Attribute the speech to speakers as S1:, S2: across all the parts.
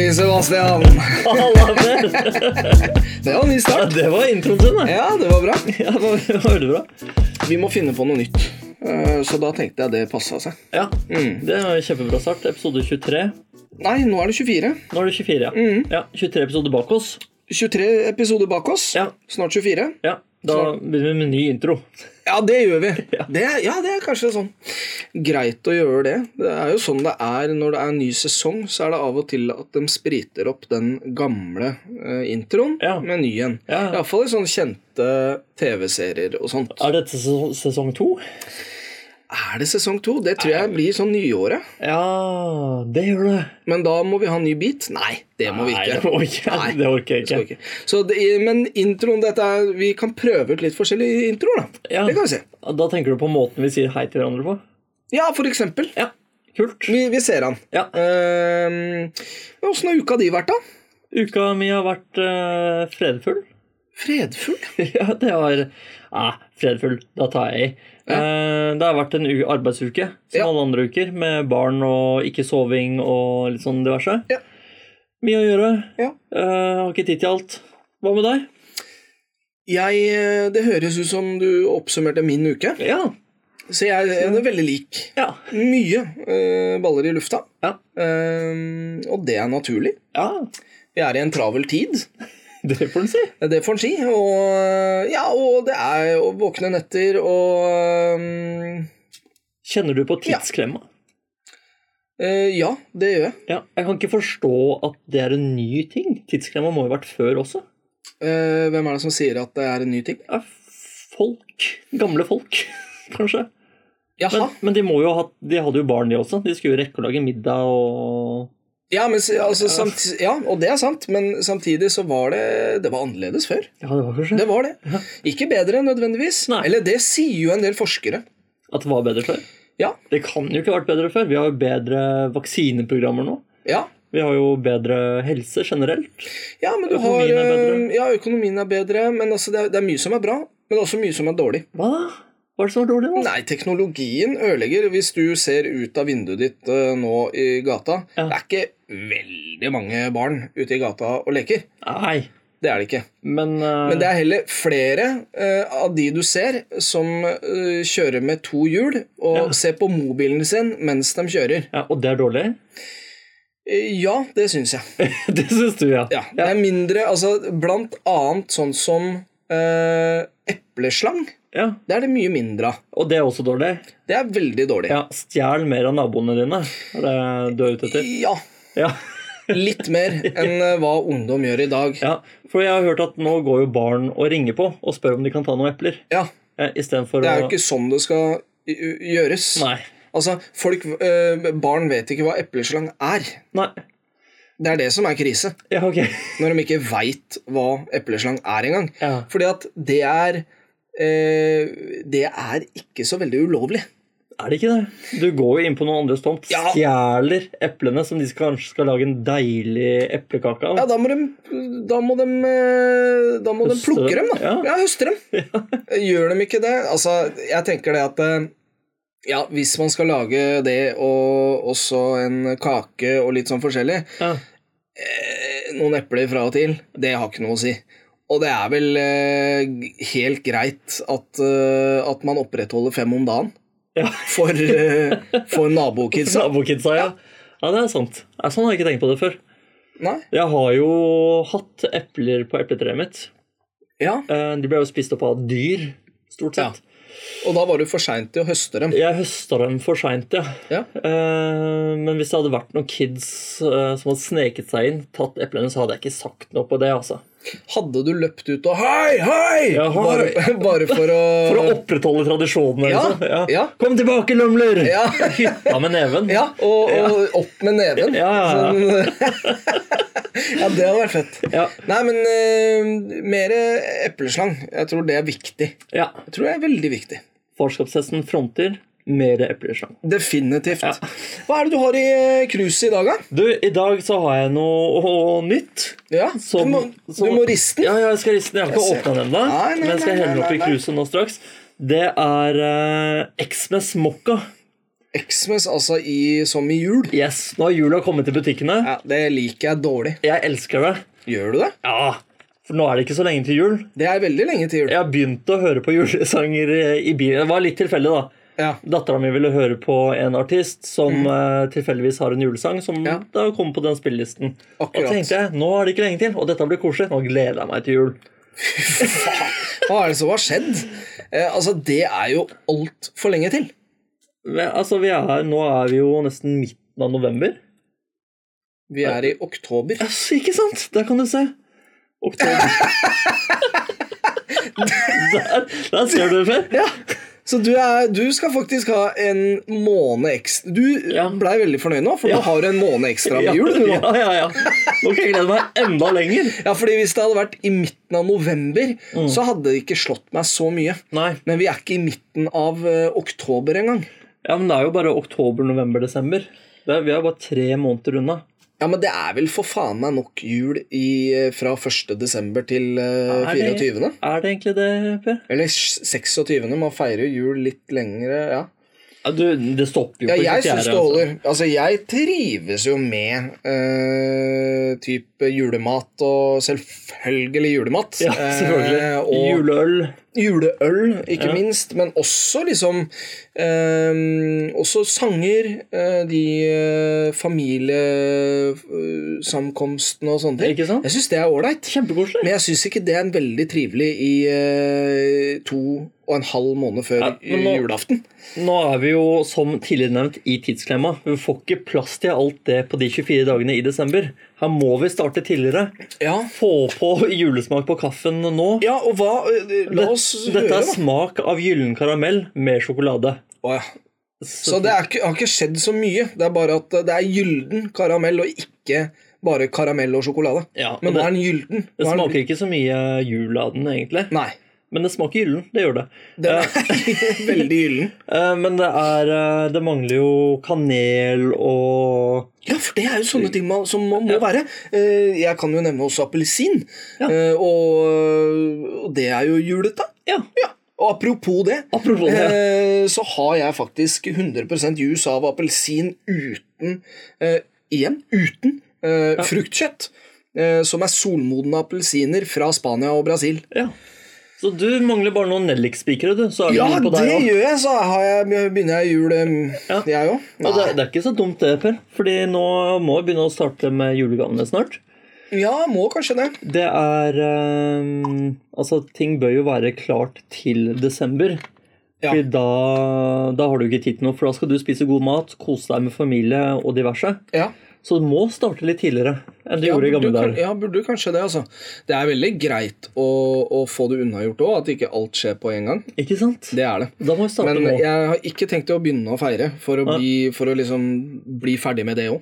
S1: Christian. Det var en ny
S2: Ja,
S1: start.
S2: det var introen sin, det.
S1: Ja, det var bra.
S2: Ja, det var, det var veldig bra.
S1: Vi må finne på noe nytt. Eh, Så da tenkte jeg det passa seg.
S2: Ja,
S1: Mm.
S2: det var en kjempebra start. Episode 23.
S1: Nei, nå er det 24.
S2: Nå er det 24, ja. Ja, 23 episoder bak oss.
S1: 23 episoder bak oss.
S2: Ja.
S1: Snart 24.
S2: Ja, Da begynner vi med en ny intro.
S1: Ja, det gjør vi.
S2: Ja.
S1: Det, ja, det er kanskje sånn greit å gjøre det. Det er jo sånn det er når det er ny sesong, så er det av og til at de spriter opp den gamle eh, introen
S2: Ja.
S1: med ny en.
S2: Ja, ja.
S1: Iallfall i sånne kjente TV-serier og sånt.
S2: Er dette sesong, sesong to?
S1: Er det sesong to? Det tror jeg blir sånn nyåret.
S2: Ja, det gjør det.
S1: Men da må vi ha en ny bit? Nei, det må vi
S2: Nei, det
S1: ikke.
S2: orker jeg,
S1: Nei,
S2: det orker jeg
S1: Det skal vi
S2: ikke.
S1: ikke. Så det, men introen dette er, Vi kan prøve ut litt forskjellige introer, da.
S2: Ja.
S1: Det kan vi se.
S2: Da tenker du på måten vi sier hei til hverandre på?
S1: Ja, for eksempel.
S2: Ja, kult.
S1: Vi, vi ser han.
S2: Ja,
S1: Ehm, men Åssen har uka di vært, da?
S2: Uka mi har vært eh, fredfull.
S1: Fredfull?
S2: ja, det har ah, Fredfull, da tar jeg i. Eh, det har vært en u arbeidsuke som
S1: Ja.
S2: alle andre uker, med barn og ikke soving og litt sånn diverse.
S1: Ja.
S2: Mye å gjøre.
S1: Ja.
S2: Eh, har ikke tid til alt. Hva med deg?
S1: Jeg, eh, det høres ut som du oppsummerte min uke.
S2: Ja.
S1: Så jeg er veldig lik.
S2: Ja.
S1: Mye eh, baller i lufta.
S2: Ja.
S1: Ehm, og det er naturlig.
S2: ja.
S1: Vi er i en travel tid.
S2: Det får en si.
S1: Det får en si. Og, eh, ja, og det er jo våkne netter og um,
S2: Kjenner du på tidsklemma?
S1: eh, Ja, det gjør jeg.
S2: Ja. Jeg kan ikke forstå at det er en ny ting. Tidsklemma må jo ha vært før også.
S1: Eh, hvem er det som sier at det er en ny ting?
S2: Ja, folk. Gamle folk, kanskje.
S1: Jaha.
S2: Men, men de, må jo ha, de hadde jo barn, de også. De skulle jo rekke å lage middag og
S1: ja, men, s- altså, samt, ja, og det er sant, men samtidig så var det Det var annerledes før.
S2: Ja, det var kanskje
S1: Det var det. Ikke bedre nødvendigvis.
S2: Nei.
S1: Eller det sier jo en del forskere.
S2: At det var bedre før?
S1: Ja.
S2: Det kan jo ikke ha vært bedre før. Vi har jo bedre vaksineprogrammer nå.
S1: Ja,
S2: Vi har jo bedre helse generelt.
S1: ja men du
S2: Økonomien
S1: har
S2: er
S1: eh,
S2: bedre.
S1: Ja, økonomien er bedre, men altså, det, er, det er mye som er bra. Men også mye som er dårlig.
S2: Hva? Hva er det som var dårlig nå?
S1: Nei, teknologien ødelegger. Hvis du ser ut av vinduet ditt eh, nå i gata Det
S2: Ja.
S1: er ikke veldig mange barn ute i gata og leker.
S2: Nei.
S1: Det er det ikke.
S2: Men, eh,
S1: Men det er heller flere eh, av de du ser, som eh, kjører med to hjul og
S2: Ja.
S1: ser på mobilen sin mens de kjører.
S2: ja, Og det er dårlig?
S1: Eh, ja, det syns jeg.
S2: det syns du, ja.
S1: Ja, det er mindre Altså, blant annet sånn som eh, epleslang.
S2: Ja.
S1: Det er det mye mindre av.
S2: Og det er også dårlig?
S1: Det er veldig dårlig.
S2: Ja, Stjel mer av naboene dine. Er det du er ute etter?
S1: ja.
S2: Ja.
S1: Litt mer enn eh, hva ungdom gjør i dag.
S2: Ja, for jeg har hørt at nå går jo barn og ringer på og spør om de kan ta noen epler.
S1: Ja,
S2: eh, Istedenfor å
S1: det er jo ikke sånn det skal i- u- gjøres.
S2: Nei.
S1: Altså, folk, eh, Barn vet ikke hva epleslang er.
S2: Nei.
S1: Det er det som er krise,
S2: Ja, ok.
S1: når de ikke veit hva epleslang er engang.
S2: Ja.
S1: Fordi at det er eh, Det er ikke så veldig ulovlig.
S2: Er det ikke det? Du går jo inn på noen andres tomt,
S1: Ja.
S2: stjeler eplene som de skal, kanskje skal lage en deilig eplekake
S1: Ja,
S2: av.
S1: da må de, da må de, eh, da må de
S2: Høste
S1: plukke
S2: dem,
S1: dem, da.
S2: ja.
S1: Ja, høste dem. Gjør de ikke det? Altså, jeg tenker det at eh, ja, hvis man skal lage det og også en kake og litt sånn forskjellig,
S2: Ja.
S1: eh, noen epler fra og til, det har ikke noe å si. Og det er vel eh, g- helt greit at, eh, at man opprettholder fem om dagen
S2: Ja.
S1: for, eh, for nabokidsa.
S2: Nabokidsa, ja. ja. Det er sant. Ja, sånn har jeg ikke tenkt på det før.
S1: Nei?
S2: Jeg har jo hatt epler på epletreet mitt.
S1: Ja.
S2: Eh, De ble jo spist opp av dyr, stort
S1: Ja.
S2: sett.
S1: Og da var du for sein til å høste dem.
S2: Jeg høsta dem for seint, ja.
S1: Ja.
S2: Eh, men hvis det hadde vært noen kids eh, som hadde sneket seg inn, tatt eplene, så hadde jeg ikke sagt noe på det. altså.
S1: Hadde du løpt ut og Hei, hei!
S2: Ja, hei!
S1: Bare, bare for å
S2: For å opprettholde tradisjonene.
S1: Ja,
S2: liksom. ja.
S1: ja.
S2: Kom tilbake, lømler!
S1: Ja.
S2: Hytta med neven.
S1: Ja, og, og opp med neven.
S2: Ja, ja,
S1: Sånn- ja, det hadde vært fett.
S2: Ja.
S1: Nei, men eh, mer epleslang. Jeg tror det er viktig.
S2: Ja.
S1: Jeg tror det er veldig viktig.
S2: Farskapshesten fronter mer epleslang.
S1: Definitivt. Hva er det du har i eh, kruset i dag, da?
S2: Du, i dag så har jeg noe nytt.
S1: Ja,
S2: Som-
S1: du, må,
S2: som-
S1: du må riste den.
S2: Ja, ja, jeg skal riste den. Jeg har
S1: Jeg
S2: ikke
S1: ser
S2: åpna den ennå,
S1: Nei, nei,
S2: men jeg skal
S1: nei,
S2: helle den
S1: nei,
S2: opp i
S1: nei.
S2: eh, kruset nå straks. Det er uh, Xmas Mocca.
S1: Xmas, altså i, som i jul.
S2: Yes, nå har jula kommet til butikkene.
S1: Ja, det liker jeg dårlig.
S2: Jeg elsker det.
S1: Gjør du det?
S2: Ja, for nå er det ikke så lenge til jul.
S1: Det er veldig lenge til jul.
S2: Jeg har begynt å høre på julesanger eh, i bilen. Det var litt tilfeldig, da.
S1: Ja.
S2: Dattera mi ville høre på en artist som eh, tilfeldigvis har en julesang, som
S1: Ja.
S2: da kom på den spillelisten. Og
S1: Akkurat.
S2: tenkte jeg, nå er det ikke lenge til, og dette blir koselig. Nå gleder jeg meg til jul.
S1: Hva er det som har skjedd? Eh, altså, det er jo altfor lenge til.
S2: Men, altså, vi er, nå er vi jo nesten midten av november.
S1: Vi er i oktober.
S2: Yes, ikke sant? Der kan du se. Oktober. der, der ser du det, Per.
S1: Ja. Så du, er, du skal faktisk ha en måned ekstra Du
S2: Ja.
S1: blei veldig fornøyd nå, for
S2: Ja.
S1: nå har du en måned ekstra med jul. Du, nå.
S2: Ja, ja, ja. Nå kan jeg glede meg enda lenger.
S1: Ja, fordi Hvis det hadde vært i midten av november,
S2: Mm.
S1: så hadde det ikke slått meg så mye.
S2: Nei,
S1: Men vi er ikke i midten av eh, oktober engang.
S2: ja, men det er jo bare oktober, november, desember. Det er, vi er bare tre måneder unna.
S1: Ja, men det er vel for faen meg nok jul i, eh, fra 1. desember til eh,
S2: Er det-
S1: 24.
S2: Er det egentlig det, Per?
S1: Eller s- 26. Man feirer jo jul litt lengre. Ja,
S2: Ja, du, det stopper jo
S1: ja
S2: på
S1: jeg syns
S2: 24,
S1: det
S2: altså.
S1: holder. Altså, jeg trives jo med eh, type julemat, og selvfølgelig julemat.
S2: Ja, selvfølgelig.
S1: Eh, og
S2: altså. Juleøl.
S1: juleøl, ikke
S2: Ja.
S1: minst, men også liksom eh, Også sanger, eh, de eh, familiesamkomstene og sånne ting.
S2: Ikke sant?
S1: Jeg syns det er ålreit.
S2: Kjempekoselig.
S1: Men jeg syns ikke det er en veldig trivelig i eh, to og en halv måned før
S2: Ja, men nå-
S1: julaften.
S2: Nå er vi jo, som tidligere nevnt, i tidsklemma. Vi får ikke plass til alt det på de 24 dagene i desember. Her må vi starte tidligere.
S1: Ja.
S2: Få på julesmak på kaffen nå.
S1: ja, og hva eh, La oss
S2: Dette
S1: høre,
S2: er
S1: da.
S2: smak av gyllen karamell med sjokolade.
S1: Å, ja. Så det er ikke, har ikke skjedd så mye. Det er bare at det er gylden karamell, og ikke bare karamell og sjokolade.
S2: Ja, og
S1: men nå
S2: det-
S1: er den gylden.
S2: Det
S1: Nå er den-
S2: smaker ikke så mye jul av den, egentlig.
S1: Nei.
S2: Men det smaker gyllen. Det gjør det.
S1: Den er veldig gyllen.
S2: Eh, Men det er eh, Det mangler jo kanel og
S1: Ja, for det er jo sånne ting man, som man må være. Eh, Jeg kan jo nevne også appelsin. Eh, Og, og det er jo julete.
S2: Ja,
S1: Ja. Og apropos det,
S2: apropos det.
S1: eh, så har jeg faktisk 100 juice av appelsin uten eh, Igjen uten eh, fruktkjøtt. eh, Som er solmodne appelsiner fra Spania og Brasil.
S2: Ja. Så du mangler bare noen nellikspikere, du. Så er vi
S1: Ja,
S2: inne på
S1: det
S2: deg også.
S1: gjør jeg! Så har jeg, begynner jeg jul, em,
S2: Ja.
S1: jeg òg.
S2: Og det, det er ikke så dumt det, Per. Fordi nå må vi begynne å starte med julegavene snart.
S1: Ja, må kanskje det.
S2: Det er eh, Altså, ting bør jo være klart til desember.
S1: Ja.
S2: Fordi da, da har du ikke tid til noe, for da skal du spise god mat, kose deg med familie og diverse.
S1: Ja.
S2: Så du må starte litt tidligere enn du gjorde i gamle
S1: burde kan-
S2: dager.
S1: Ja, burde kanskje det, altså. Det er veldig greit å, å få det unnagjort òg, at ikke alt skjer på en gang.
S2: Ikke sant?
S1: Det er det.
S2: Da må vi starte
S1: Men
S2: nå.
S1: jeg har ikke tenkt å begynne å feire for å, bli, for å liksom bli ferdig med det òg.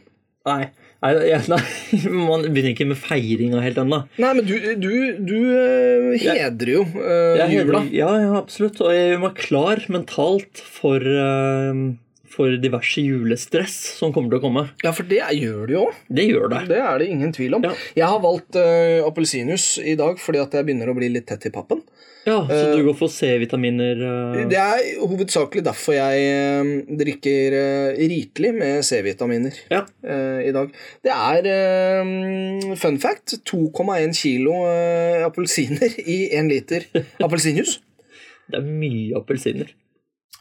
S2: Nei, nei, jeg, nei, man begynner ikke med feiringa helt ennå.
S1: Nei, men du, du, du eh, hedrer jo eh,
S2: Jeg
S1: jula.
S2: heter- Ja, ja, absolutt. Og jeg gjør meg klar mentalt for, eh, for diverse julestress som kommer til å komme.
S1: Ja, for det er- gjør du jo òg.
S2: Det gjør det.
S1: Det er det ingen tvil om.
S2: Ja.
S1: Jeg har valgt eh, appelsinjuice i dag fordi at jeg begynner å bli litt tett i pappen.
S2: Ja, Så du går for C-vitaminer? eh,
S1: Eh, Det er hovedsakelig derfor jeg eh, drikker eh, rikelig med C-vitaminer.
S2: Ja.
S1: eh, i dag. Det er, eh, fun fact, 2,1 kilo eh, appelsiner i 1 liter appelsinjuice.
S2: Det er mye appelsiner.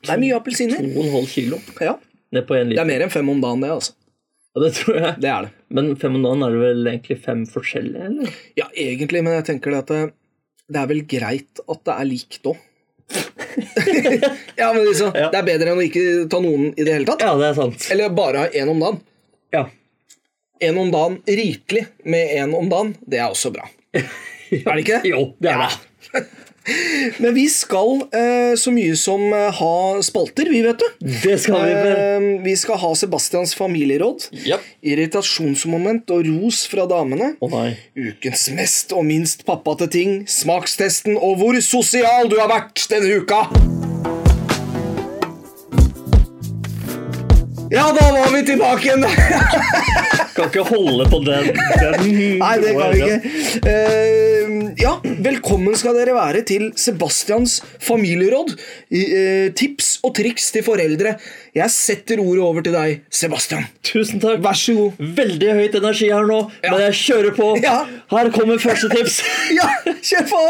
S1: Det er mye appelsiner.
S2: 2,5 kilo
S1: Ja,
S2: ned på én
S1: det
S2: liter.
S1: er mer enn fem om dagen, det. altså.
S2: Ja, det tror jeg.
S1: Det er det.
S2: Men fem om dagen er det vel egentlig fem forskjellige, eller?
S1: Ja, egentlig, men jeg tenker det at det, det er vel greit at det er likt òg. ja, men liksom,
S2: Ja.
S1: Det er bedre enn å ikke ta noen i det hele tatt.
S2: Ja, det er sant.
S1: Eller bare ha én om dagen.
S2: Ja.
S1: Én om dagen rikelig med én om dagen, det er også bra. Er det ikke det?
S2: Jo, det er det.
S1: Men vi skal eh, så mye som eh, ha spalter, vi, vet du.
S2: Det skal vi med.
S1: Eh, vi skal ha Sebastians familieråd.
S2: Ja.
S1: Irritasjonsmoment og ros fra damene.
S2: Å nei.
S1: Ukens mest og minst pappate ting. Smakstesten og hvor sosial du har vært denne uka! Ja, da var vi tilbake igjen!
S2: Kan ikke holde på den. den
S1: Nei, det kan vi ikke. Eh, ja, Velkommen skal dere være til Sebastians familieråd. I- eh, Tips og triks til foreldre. Jeg setter ordet over til deg, Sebastian.
S2: Tusen takk.
S1: Vær så god.
S2: Veldig høyt energi her nå,
S1: Ja.
S2: men jeg kjører på.
S1: Ja.
S2: Her kommer første tips.
S1: Ja, kjør på!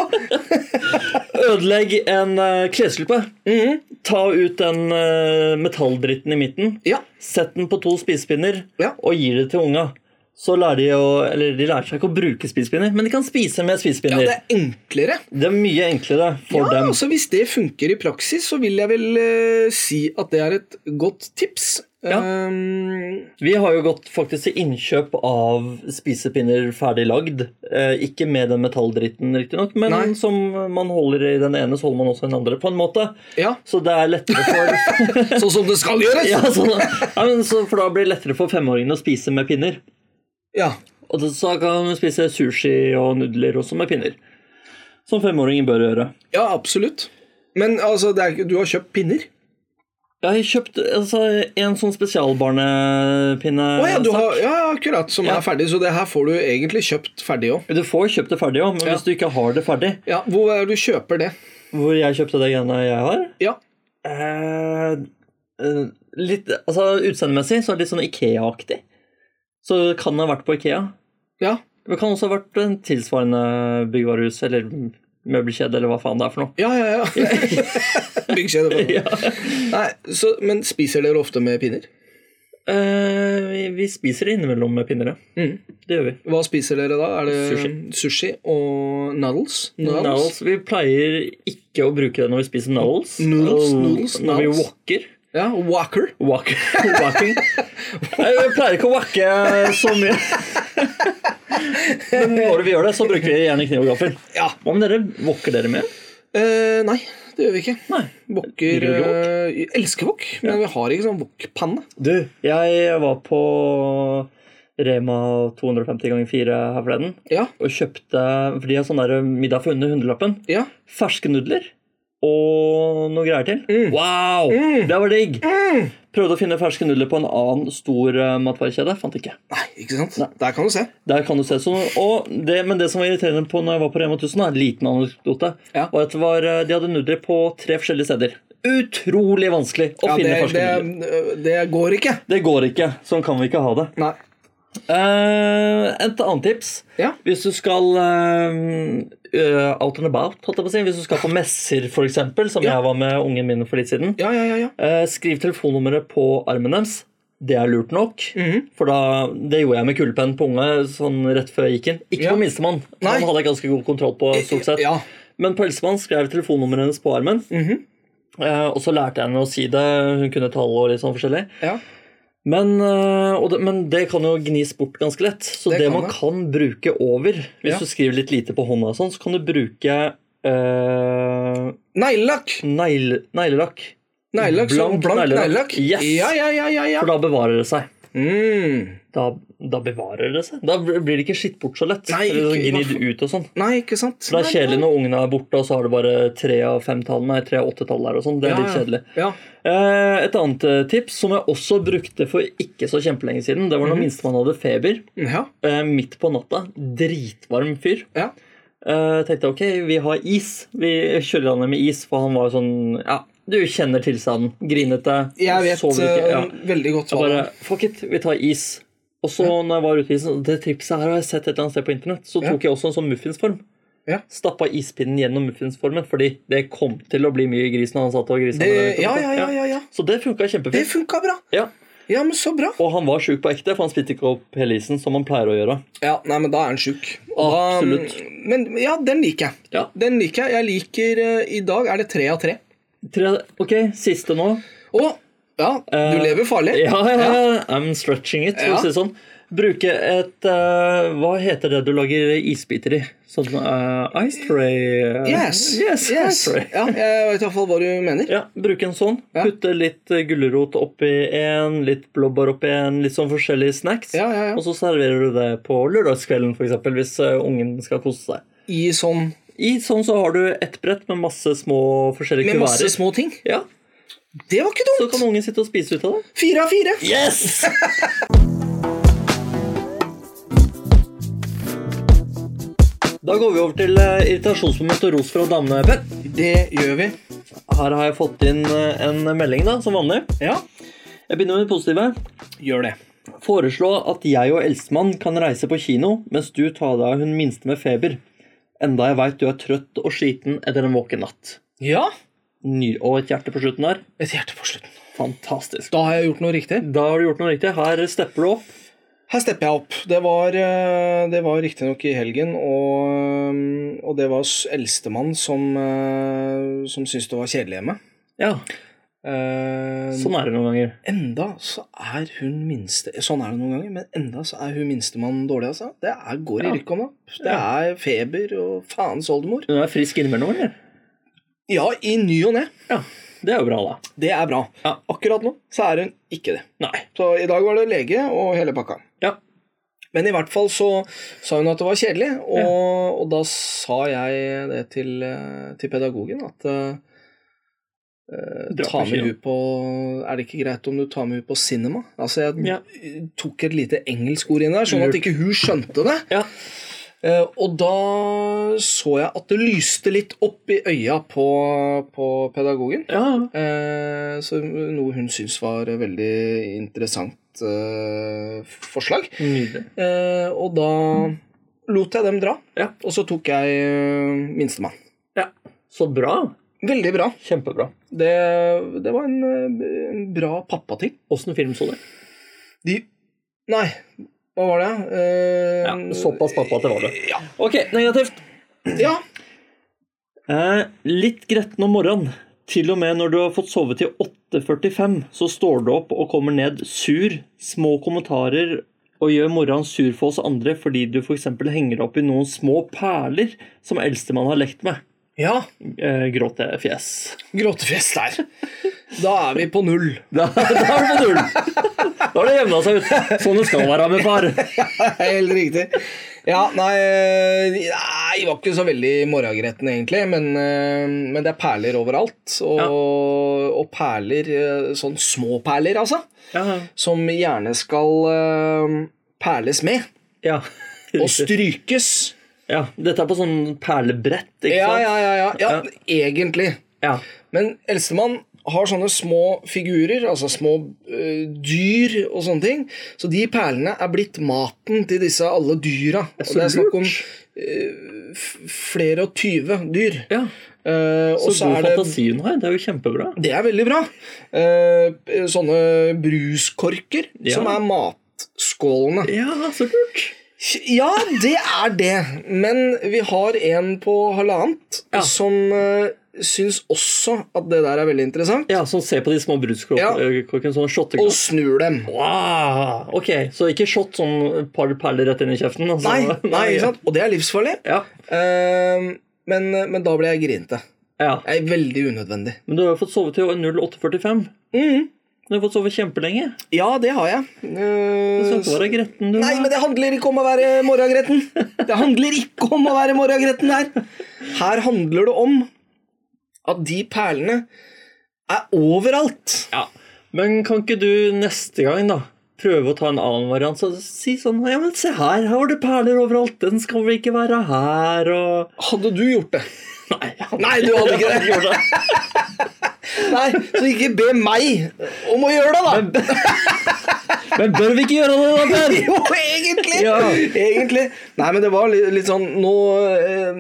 S2: Ødelegg en uh, klesslippe.
S1: Mhm.
S2: Ta ut den eh, metalldritten i midten.
S1: Ja.
S2: Sett den på to spisepinner
S1: Ja.
S2: og gir det til unga. Så lærer de å Eller de lærer seg ikke å bruke spisepinner, men de kan spise med
S1: ja,
S2: spisepinner.
S1: det er enklere.
S2: det... er mye enklere for
S1: Ja,
S2: dem.
S1: altså Hvis det funker i praksis, så vil jeg vel eh, si at det er et godt tips.
S2: Ja.
S1: Ehm,
S2: Vi har jo gått faktisk til innkjøp av spisepinner ferdig lagd. Eh, ikke med den metalldritten, riktignok, men
S1: Nei.
S2: som man holder i den ene, så holder man også den andre, på en måte.
S1: ja.
S2: Så det er lettere for
S1: Sånn som det skal gjøres!
S2: ja, så, ja, men så, For da blir det lettere for femåringene å spise med pinner.
S1: Ja.
S2: Og det- så kan man spise sushi og nudler også med pinner. Som femåringen bør gjøre.
S1: Ja, absolutt. Men altså, det er, ikke- du har kjøpt pinner?
S2: Jeg har kjøpt altså, en sånn spesialbarnepinne.
S1: Å ja, du har, ja, akkurat. Som
S2: Ja.
S1: er ferdig. Så det her får du egentlig kjøpt ferdig òg.
S2: Du får kjøpt det ferdig òg, men hvis du ikke har det ferdig
S1: Ja, hvor er det du kjøper det?
S2: Hvor jeg kjøpte det greiene jeg har?
S1: Ja.
S2: Eh, eh, litt, altså Utseendemessig så er det litt sånn Ikea-aktig. Så det kan ha vært på Ikea.
S1: ja.
S2: Men Det kan også ha vært en tilsvarende byggvarehus eller møbelkjede eller hva faen det er for noe.
S1: Ja, ja, ja. Byggkjede. for noe. Nei, så, men spiser dere ofte med pinner?
S2: Eh, vi, vi spiser det innimellom med pinner, ja.
S1: Mm.
S2: Det gjør vi.
S1: Hva spiser dere da? Er det sushi, og noodles?
S2: Noodles. Vi pleier ikke å bruke det når vi spiser noodles.
S1: Noodles,
S2: Og
S1: noodles,
S2: når vi
S1: noodles.
S2: walker.
S1: Ja, Walker.
S2: Walk, walking. Nei, Jeg pleier ikke å wacke så mye. Men når vi gjør det, så bruker vi gjerne kniv og gaffel.
S1: Ja.
S2: Hva med dere? Walker dere med?
S1: Eh, nei, det gjør vi ikke.
S2: Nei.
S1: Wokker
S2: Liker du ikke
S1: eh, jeg Elsker wok, men vi har ikke sånn wokpanne.
S2: Du, jeg var på Rema 250 ganger 4 her forleden
S1: Ja,
S2: og kjøpte For de har sånn der middag for under hundrelappen.
S1: ja.
S2: Ferske nudler og noe greier til.
S1: Mm.
S2: Wow! Det var digg. Prøvde å finne ferske nudler på en annen stor eh, matvarekjede. Fant ikke.
S1: Nei, ikke sant? Der kan du se.
S2: Der kan du se sånn. Og det, men det som var irriterende på når jeg var på Rema 1000, da, en liten anekdote,
S1: Ja.
S2: var at det var, eh, de hadde nudler på tre forskjellige steder. Utrolig vanskelig å
S1: Ja, det,
S2: finne ferske
S1: det,
S2: nudler.
S1: det går ikke.
S2: Det går ikke. Sånn kan vi ikke ha det.
S1: Nei.
S2: Eh, et annet tips
S1: Ja.
S2: Hvis du skal eh, eh, out and about, holdt jeg på å si. hvis du skal på messer, f.eks., som
S1: Ja.
S2: jeg var med ungen min for litt siden,
S1: Ja, ja, ja. ja.
S2: eh, skriv telefonnummeret på armen deres. Det er lurt nok.
S1: Mm.
S2: For da, Det gjorde jeg med kulepenn på unge sånn rett før jeg gikk inn. Ikke
S1: Ja.
S2: på minstemann.
S1: Nei. Eh,
S2: Han hadde jeg ganske god kontroll på. stort sett.
S1: Ja.
S2: Men på eldstemann skrev jeg telefonnummeret hennes på armen.
S1: Mhm.
S2: eh, og så lærte jeg henne å si det. Hun kunne tale og litt sånn forskjellig.
S1: ja.
S2: Men, eh, og det, men det kan jo gnis bort ganske lett. Så
S1: Det
S2: det,
S1: kan
S2: man
S1: det.
S2: kan bruke over Hvis
S1: Ja.
S2: du skriver litt lite på hånda, og sånn, så kan du bruke eh,
S1: Neglelakk.
S2: negl- neglelakk.
S1: Neglelakk. Blank,
S2: Blank
S1: blank
S2: neglelakk.
S1: neglelakk.
S2: Yes.
S1: Ja, ja, ja, ja, ja.
S2: For da bevarer det seg.
S1: Mm.
S2: da, da bevarer det seg. Da blir det ikke skitt bort så lett.
S1: Nei,
S2: Eller
S1: ikke-
S2: gnidd ut og sånn.
S1: Nei, ikke sant?
S2: For Det er kjedelig
S1: Nei,
S2: når ungene er borte, og så har du bare tre av fem tall, nei, tre av åtte tall der og sånn. Det er
S1: Ja,
S2: litt kjedelig.
S1: Ja.
S2: Eh, Et annet eh, tips som jeg også brukte for ikke så kjempelenge siden, det var
S1: Mhm.
S2: når minstemann hadde feber
S1: Ja.
S2: eh, midt på natta. Dritvarm fyr.
S1: ja.
S2: Eh, tenkte ok, vi har is. Vi kjører han ned med is, for han var sånn Ja, du kjenner tilstanden. Grinete.
S1: Jeg vet
S2: sover ikke, ja.
S1: eh, veldig godt
S2: Jeg
S1: hva
S2: bare Fuck it, vi tar is. Og så når jeg var ute i isen, Det tripset her har jeg sett et eller annet sted på internett. Så
S1: Ja.
S2: tok jeg også en sånn muffinsform.
S1: Ja.
S2: Stappa ispinnen gjennom muffinsformen, fordi det kom til å bli mye gris når han satt og
S1: det,
S2: grisa. med det ute
S1: Eh, ja,
S2: på.
S1: ja, ja, ja, ja.
S2: Så det funka
S1: Det
S2: kjempefint.
S1: funka bra.
S2: Ja.
S1: Ja, men så bra.
S2: Og han var sjuk på ekte, for han spytte ikke opp hele isen, som han pleier å gjøre.
S1: Ja, nei, men da er han sjuk. Og da-
S2: Absolutt.
S1: Men ja, den liker jeg.
S2: Ja.
S1: Den liker jeg. Jeg liker eh, I dag er det tre av tre.
S2: Tre, ok, siste nå.
S1: Å! Ja, du
S2: Eh,
S1: lever farlig.
S2: Ja, ja, ja. I'm stretching it, for
S1: Ja.
S2: å si det sånn. Bruke et eh, Hva heter det du lager isbiter i? Sånn eh, ice tray? eh,
S1: Yes.
S2: yes,
S1: yes.
S2: Ice tray.
S1: Ja, jeg vet iallfall hva du mener.
S2: Ja, bruke en sånn.
S1: Ja.
S2: Putte litt eh, gulrot oppi en, litt blåbær oppi en, litt sånn forskjellige snacks.
S1: Ja, ja,
S2: Og
S1: ja.
S2: så serverer du det på lørdagskvelden, for eksempel, hvis eh, ungen skal kose seg.
S1: I sånn
S2: I sånn så har du ett brett med masse små forskjellige
S1: Med masse
S2: kuverter.
S1: små ting.
S2: Ja,
S1: Det var ikke
S2: Så
S1: dumt!
S2: kan ungen sitte og spise ut av det.
S1: Fire av fire.
S2: Yes! Da går vi over til eh, irritasjonsmoment og ros fra damene, Per.
S1: Det gjør vi.
S2: Her har jeg fått inn eh, en melding, da, som vanlig.
S1: Ja,
S2: Jeg begynner med det positive.
S1: gjør det.
S2: Foreslå at jeg og eldstemann kan reise på kino mens du tar deg av hun minste med feber. Enda jeg veit du er trøtt og skiten etter en våken natt.
S1: Ja.
S2: Ny og et hjerte på slutten der.
S1: Et hjerte på slutten.
S2: Fantastisk.
S1: Da har jeg gjort noe riktig.
S2: Da har du gjort noe riktig. Her stepper du opp.
S1: Her stepper jeg opp. Det var, eh, det var riktignok i helgen, og, eh, og det var s- eldstemann som, eh, som syntes det var kjedelig hjemme.
S2: Ja,
S1: Eh,
S2: sånn er det noen ganger.
S1: Enda så er hun minste Sånn er det noen ganger, men enda så er hun minstemann dårlig, altså. Det er, går i
S2: Ja.
S1: rykk og napp. Det er feber og faens oldemor.
S2: Hun er frisk innimellom, eller?
S1: Ja, i ny og ne.
S2: Ja, det er jo bra, da.
S1: Det er bra.
S2: Ja.
S1: Akkurat nå så er hun ikke det.
S2: Nei.
S1: Så i dag var det lege og hele pakka.
S2: Ja.
S1: Men i hvert fall så sa hun at det var kjedelig, og, og da sa jeg det til, eh, til pedagogen at eh,
S2: Dra på
S1: ta med
S2: kino.
S1: hun på Er det ikke greit om du tar med hun på cinema? Altså, jeg
S2: Ja.
S1: tok et lite engelsk ord inn der, sånn at
S2: Lurt.
S1: ikke hun skjønte det.
S2: Ja.
S1: Eh, og da så jeg at det lyste litt opp i øya på, på pedagogen.
S2: ja.
S1: Eh, så noe hun syntes var et veldig interessant eh, forslag.
S2: Nydelig.
S1: Eh, og da lot jeg dem dra,
S2: Ja.
S1: og så tok jeg eh, minstemann.
S2: Ja. Så bra.
S1: Veldig bra.
S2: Kjempebra.
S1: Det, det var en, eh, en bra pappating.
S2: Åssen film så du?
S1: De Nei, hva var det? Eh,
S2: Ja, såpass pappa at det var det.
S1: Ja.
S2: Ok, negativt.
S1: ja.
S2: Eh, litt gretten om morgenen. Til og med når du har fått sove til 8.45, så står du opp og kommer ned sur, små kommentarer og gjør morgenen sur for oss andre fordi du f.eks. henger deg opp i noen små perler som eldstemann har lekt med.
S1: ja.
S2: Eh, Gråtefjes.
S1: Gråtefjes der. Da er vi på null.
S2: Da, da er det på null! Da har det jevna seg ut. Sånn det skal være med far.
S1: Helt riktig. Ja, nei, eh, nei Jeg var ikke så veldig morgengretten, egentlig. Men, eh, men det er perler overalt. Og,
S2: Ja.
S1: og perler eh, Sånn små perler, altså.
S2: Ja,
S1: Som gjerne skal eh, perles med.
S2: ja.
S1: Og strykes.
S2: ja. Dette er på sånn perlebrett, ikke
S1: Ja,
S2: sant?
S1: ja, ja. ja, ja
S2: Ja.
S1: Egentlig.
S2: Ja.
S1: Men eldstemann har sånne små figurer, altså små eh, dyr og sånne ting. Så de perlene er blitt maten til disse alle dyra.
S2: er
S1: Og
S2: så
S1: det er snakk om
S2: lurt.
S1: eh, f- flere og tyve dyr.
S2: ja.
S1: Eh,
S2: Så,
S1: og så
S2: god
S1: er det
S2: fantasi hun har. Det er jo kjempebra.
S1: Det er veldig bra. Eh, sånne bruskorker
S2: Ja.
S1: som er matskålene.
S2: Ja, så kult.
S1: Ja, det er det. Men vi har en på halvannet
S2: Ja.
S1: som uh, syns også at det der er veldig interessant,
S2: Ja, sånn se på de små
S1: Ja.
S2: brusklokkene, sånn
S1: og
S2: shotteglass.
S1: snur dem.
S2: Wow. Ok, så ikke shot sånn et par perler rett inn i kjeften? altså.
S1: Nei, nei ikke sant? Og det er livsfarlig.
S2: Ja.
S1: Eh, men, men da ble jeg grinete.
S2: ja.
S1: Det er veldig unødvendig.
S2: Men du har jo fått sove til 08.45.
S1: Mhm.
S2: Du har fått sove kjempelenge.
S1: Ja, det har jeg. Eh,
S2: Så du være gretten, du.
S1: Nei, men det handler ikke om å være morgengretten. Det handler ikke om å være morgengretten her. Her handler det om at de perlene er overalt.
S2: Ja. Men kan ikke du neste gang, da? Prøve å ta en annen variant. Så si sånn Ja, men se her, her var det perler overalt. Den skal vel ikke være her, og
S1: Hadde du gjort det?
S2: Nei,
S1: Nei, du hadde ikke det.
S2: Jeg gjorde det.
S1: Nei, så ikke be meg om å gjøre det, da.
S2: Men bør vi ikke gjøre det, da, Per?
S1: Jo, egentlig.
S2: Ja.
S1: egentlig. Nei, men det var litt, litt sånn Nå, eh,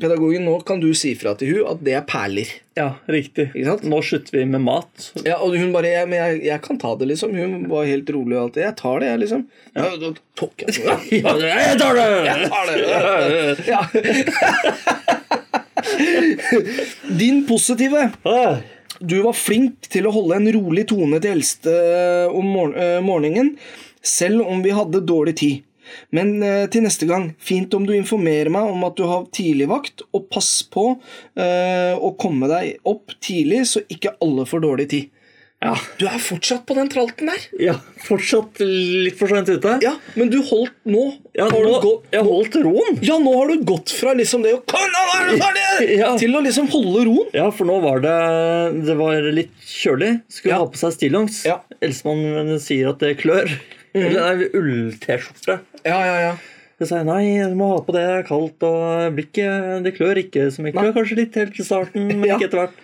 S1: pedagogen, nå kan du si fra til hun at det er perler.
S2: Ja, riktig.
S1: Ikke sant?
S2: Nå slutter vi med mat.
S1: Ja, og hun bare jeg, men jeg, 'Jeg kan ta det', liksom. Hun var helt rolig og alt det. 'Jeg tar det, jeg', liksom. Ja, da tok jeg det.
S2: Ja, jeg tar det! Jeg
S1: tar det. Ja. Din positive. Du var flink til å holde en rolig tone til eldste om morgen- eh, morgenen, selv om vi hadde dårlig tid. Men eh, til neste gang, fint om du informerer meg om at du har tidligvakt, og pass på eh, å komme deg opp tidlig, så ikke alle får dårlig tid.
S2: Ja.
S1: Du er fortsatt på den tralten der.
S2: ja, fortsatt litt for sent ute.
S1: Ja, men du holdt nå.
S2: Ja,
S1: har
S2: nå,
S1: du gå-
S2: jeg holdt roen.
S1: ja, nå har du gått fra liksom det å «Kom, nå er det ferdig!»
S2: Ja.
S1: til å liksom holde roen.
S2: Ja, for nå var det, det var litt kjølig. Skulle
S1: Ja.
S2: ha på seg stillongs.
S1: Ja. Mhm.
S2: Elsemann sier at det klør. Eller nei, ull-T-skjorte.
S1: Ja, ja, ja.
S2: Så sa jeg nei, du må ha på det, det er kaldt og blikket Det klør ikke så mye. Klør kanskje litt helt i starten, men
S1: Ja.
S2: ikke etter hvert.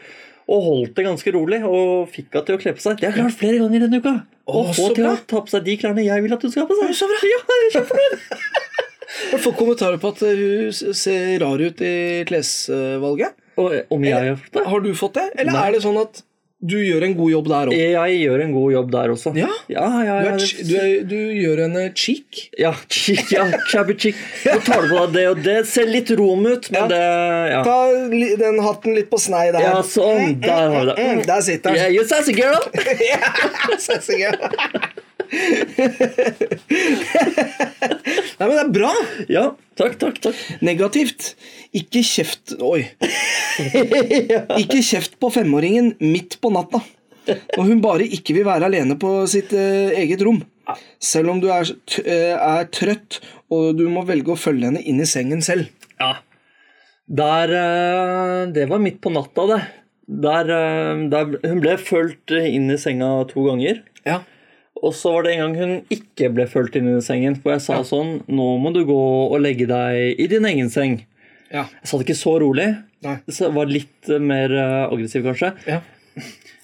S2: Og holdt det ganske rolig, og fikk henne til å kle på seg. Det har jeg klart flere ganger denne uka. Å
S1: Å,
S2: få
S1: så
S2: til å
S1: bra.
S2: ta på seg de klærne jeg vil at hun skal ha på seg.
S1: Å, så bra.
S2: Ja, jeg er kjempefornøyd.
S1: Har du fått kommentarer på at eh, hun s- ser rar ut i klesvalget?
S2: Og
S1: Eh.
S2: om jeg har fått det?
S1: Har du fått det? Eller
S2: Nei.
S1: er det sånn at du gjør en god jobb der òg?
S2: Jeg gjør en god jobb der også.
S1: Ja?
S2: ja, ja,
S1: Du,
S2: ja,
S1: er,
S2: det-
S1: ch- du, er, du gjør henne cheek?
S2: Ja, chick, ja, shabby chick. Nå tar du på deg det og det. Ser litt rom ut, men
S1: Ja.
S2: det ja.
S1: Ta li- den hatten litt på snei der.
S2: ja, sånn. Der har vi det.
S1: Mm, der sitter den.
S2: Yeah, you sassy girl.
S1: Sassing, ja. Nei, men det er bra.
S2: Ja, takk, takk, takk.
S1: Negativt. Ikke kjeft Oi. Ikke kjeft på femåringen midt på natta. Når hun bare ikke vil være alene på sitt eh, eget rom. Selv om du er, t eh, er trøtt og du må velge å følge henne inn i sengen selv.
S2: Ja. Der eh, Det var midt på natta, det. Der, eh, der Hun ble fulgt inn i senga to ganger.
S1: Ja.
S2: Og så var det en gang hun ikke ble fulgt inn i sengen, for jeg sa sånn Nå må du gå og legge deg i din egen seng.
S1: ja.
S2: Jeg sa det ikke så rolig.
S1: Nei.
S2: Så jeg var litt eh, mer eh, aggressiv, kanskje.
S1: Ja.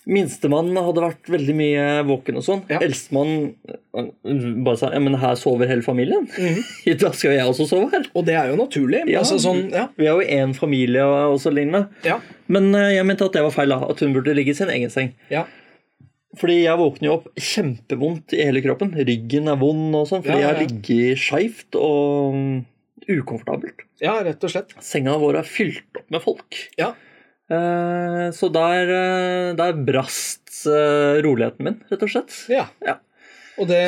S2: Minstemann hadde vært veldig mye våken og sånn.
S1: Ja.
S2: Eldstemann eh, bare sa ja, men her sover hele familien.
S1: Mhm.
S2: da skal jo jeg også sove her.
S1: Og det er jo naturlig.
S2: Ja.
S1: Altså sånn, ja.
S2: Vi er jo én familie og og så lignende.
S1: Ja.
S2: Men eh, jeg mente at det var feil, da. At hun burde ligge i sin egen seng.
S1: ja.
S2: Fordi jeg våkner jo opp kjempevondt i hele kroppen. Ryggen er vond og sånn. Fordi
S1: Ja, ja, ja.
S2: jeg har ligget skeivt og mm, ukomfortabelt.
S1: Ja, rett og slett.
S2: Senga vår er fylt opp med folk.
S1: Ja.
S2: Eh, Så der, eh, der brast eh, roligheten min, rett og slett.
S1: ja.
S2: Ja.
S1: Og det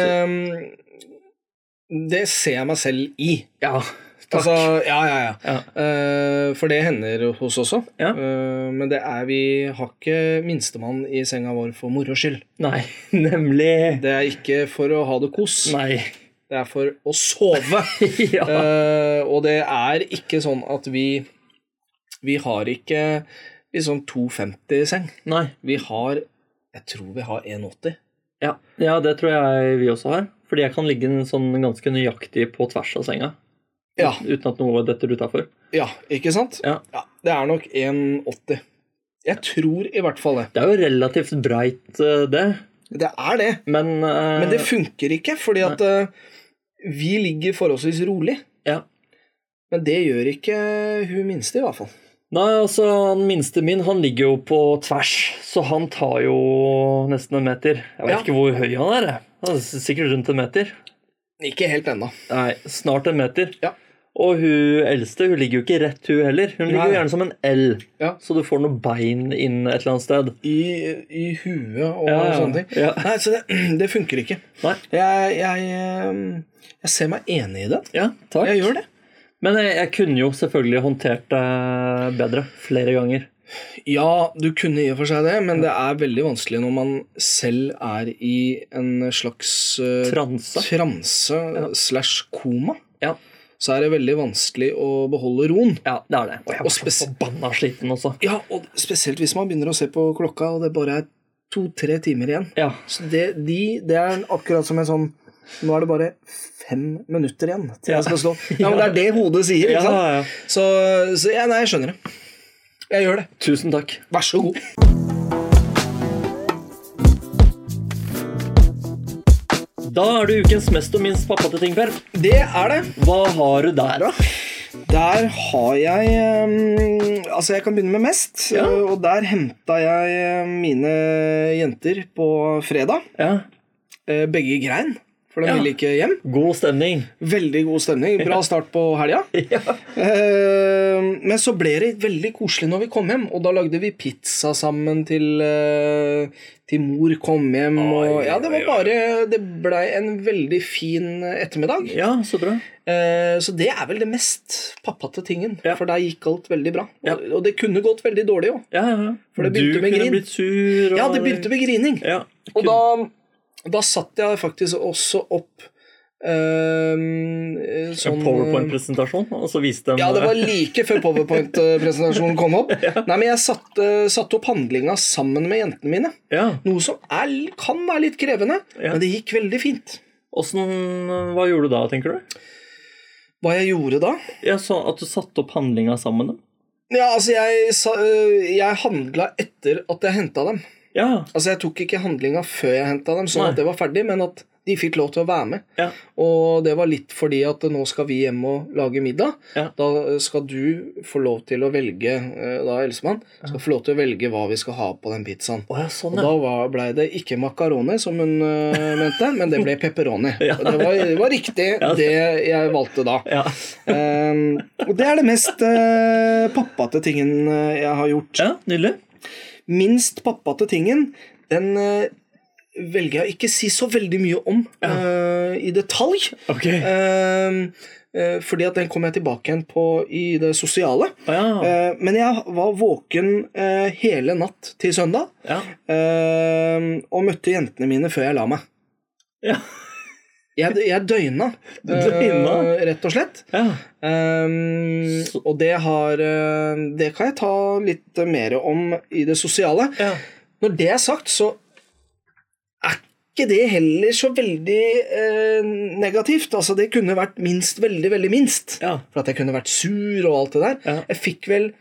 S1: um, Det ser jeg meg selv i.
S2: Ja, takk.
S1: Altså, ja, ja, ja.
S2: ja.
S1: Eh, for det hender hos oss også.
S2: Ja.
S1: Eh, men det er vi har ikke minstemann i senga vår for moro skyld.
S2: Nei, nemlig
S1: Det er ikke for å ha det kos.
S2: Nei.
S1: Det er for å sove.
S2: ja.
S1: Eh, og det er ikke sånn at vi Vi har ikke liksom 250-seng.
S2: Nei.
S1: Vi har Jeg tror vi har 180.
S2: Ja. ja, det tror jeg vi også har. Fordi jeg kan ligge en sånn ganske nøyaktig på tvers av senga.
S1: Ja,
S2: Uten at noe detter utafor.
S1: ja ikke sant?
S2: Ja.
S1: Det er nok 180. Jeg tror i hvert fall det.
S2: Det er jo relativt breit, eh, det.
S1: Det er det.
S2: Men, eh,
S1: Men det funker ikke, fordi at eh, vi ligger forholdsvis rolig.
S2: ja.
S1: Men det gjør ikke hun minste, i hvert fall.
S2: Nei, altså, han minste min han ligger jo på tvers, så han tar jo nesten en meter. Jeg vet
S1: Ja.
S2: ikke hvor høy han er. jeg. Han er sikkert rundt en meter.
S1: Ikke helt ennå.
S2: Nei, snart en meter.
S1: Ja.
S2: Og hun eldste hun ligger jo ikke rett, hun heller. Hun ligger
S1: Nei.
S2: jo gjerne som en L,
S1: Ja.
S2: så du får noen bein inn et eller annet sted.
S1: I, I huet og
S2: Ja, ja,
S1: sånne ting.
S2: ja.
S1: Nei, så det, det funker ikke.
S2: Nei,
S1: Jeg, jeg, eh, jeg ser meg enig i det.
S2: ja, takk.
S1: Jeg gjør det.
S2: Men jeg, jeg kunne jo selvfølgelig håndtert det bedre flere ganger.
S1: Ja, du kunne i og for seg det, men det er veldig vanskelig når man selv er i en slags eh,
S2: Transe.
S1: transe slash koma.
S2: Ja,
S1: Så er det veldig vanskelig å beholde roen.
S2: ja det er det. Og jeg
S1: Og
S2: var så
S1: spes-
S2: forbanna sliten også.
S1: Ja, og spesielt hvis man begynner å se på klokka, og det bare er to-tre timer igjen.
S2: Ja,
S1: Så det, de, det er akkurat som en sånn Nå er det bare fem minutter igjen til
S2: Ja.
S1: jeg skal stå. Ja, men Det er det hodet sier.
S2: Ja,
S1: ikke sant?
S2: ja.
S1: Så, så ja, nei, jeg skjønner det. Jeg gjør det.
S2: tusen takk.
S1: Vær så god.
S2: Da er det ukens mest og minst pappa til ting, Per.
S1: Det er det.
S2: Hva har du der, da?
S1: Der har jeg ehm, Altså, jeg kan begynne med mest.
S2: Ja.
S1: eh, Og der henta jeg eh, mine jenter på fredag.
S2: Ja,
S1: Eh, Begge grein, for de
S2: Ja.
S1: ville ikke hjem.
S2: God stemning.
S1: Veldig god stemning. Bra start på helga.
S2: Ja.
S1: Eh, Men så ble det veldig koselig når vi kom hjem, og da lagde vi pizza sammen til, eh, til mor kom hjem. Og, ja, det var bare Det blei en veldig fin ettermiddag.
S2: ja, så bra.
S1: Eh, Så det er vel det mest pappate tingen,
S2: Ja.
S1: for der gikk alt veldig bra.
S2: Ja.
S1: Og- Og det kunne gått veldig dårlig òg.
S2: Ja, ja, ja.
S1: For det
S2: du
S1: begynte med
S2: kunne
S1: grin.
S2: blitt sur. og-
S1: Ja, det begynte med grining.
S2: Ja.
S1: Og da, da satte jeg faktisk også opp eh, sånn
S2: en PowerPoint-presentasjon, og så viste dem
S1: Ja, det var like før powerpoint-presentasjonen kom opp. Nei, men jeg satte, satte opp handlinga sammen med jentene mine.
S2: ja.
S1: Noe som er, kan være litt krevende,
S2: Ja.
S1: men det gikk veldig fint.
S2: Åssen Hva gjorde du da, tenker du?
S1: Hva jeg gjorde da?
S2: Ja, sånn At du satte opp handlinga sammen med dem?
S1: Ja, altså, jeg, sa- øh, jeg handla etter at jeg henta dem.
S2: Ja.
S1: Altså, jeg tok ikke handlinga før jeg henta dem, sånn
S2: Nei.
S1: at det var ferdig, men at de fikk lov til å være med.
S2: ja.
S1: Og det var litt fordi at nå skal vi hjem og lage middag.
S2: Ja.
S1: Da skal du få lov til å velge eh, da Elsemann, skal få lov til å velge hva vi skal ha på den pizzaen.
S2: Å ja, sånn,
S1: Og
S2: ja.
S1: da var- ble det ikke makaroni, som hun eh, mente, men det ble pepperoni.
S2: Ja.
S1: Og Det, var, det var riktig, det jeg valgte da.
S2: ja.
S1: Ehm, og det er det mest eh, pappate tingen eh, jeg har gjort.
S2: ja nydelig.
S1: Minst pappate tingen, den eh, velger jeg å ikke si så veldig mye om eh, i detalj.
S2: Ok.
S1: Ehm, eh, fordi at den kom jeg tilbake igjen på i det sosiale.
S2: Å ja.
S1: Eh, men jeg var våken eh, hele natt til søndag.
S2: ja.
S1: ehm, og møtte jentene mine før jeg la meg.
S2: Ja.
S1: Jeg, jeg døgna,
S2: Du døgna?
S1: eh, rett og slett.
S2: ja.
S1: Ehm,
S2: Så-
S1: og det har eh, Det kan jeg ta litt mer om i det sosiale.
S2: ja.
S1: Når det er sagt, så er ikke det heller så veldig eh, negativt. Altså, det kunne vært minst, veldig, veldig minst.
S2: ja.
S1: For at jeg kunne vært sur og alt det der.
S2: Ja.
S1: Jeg fikk vel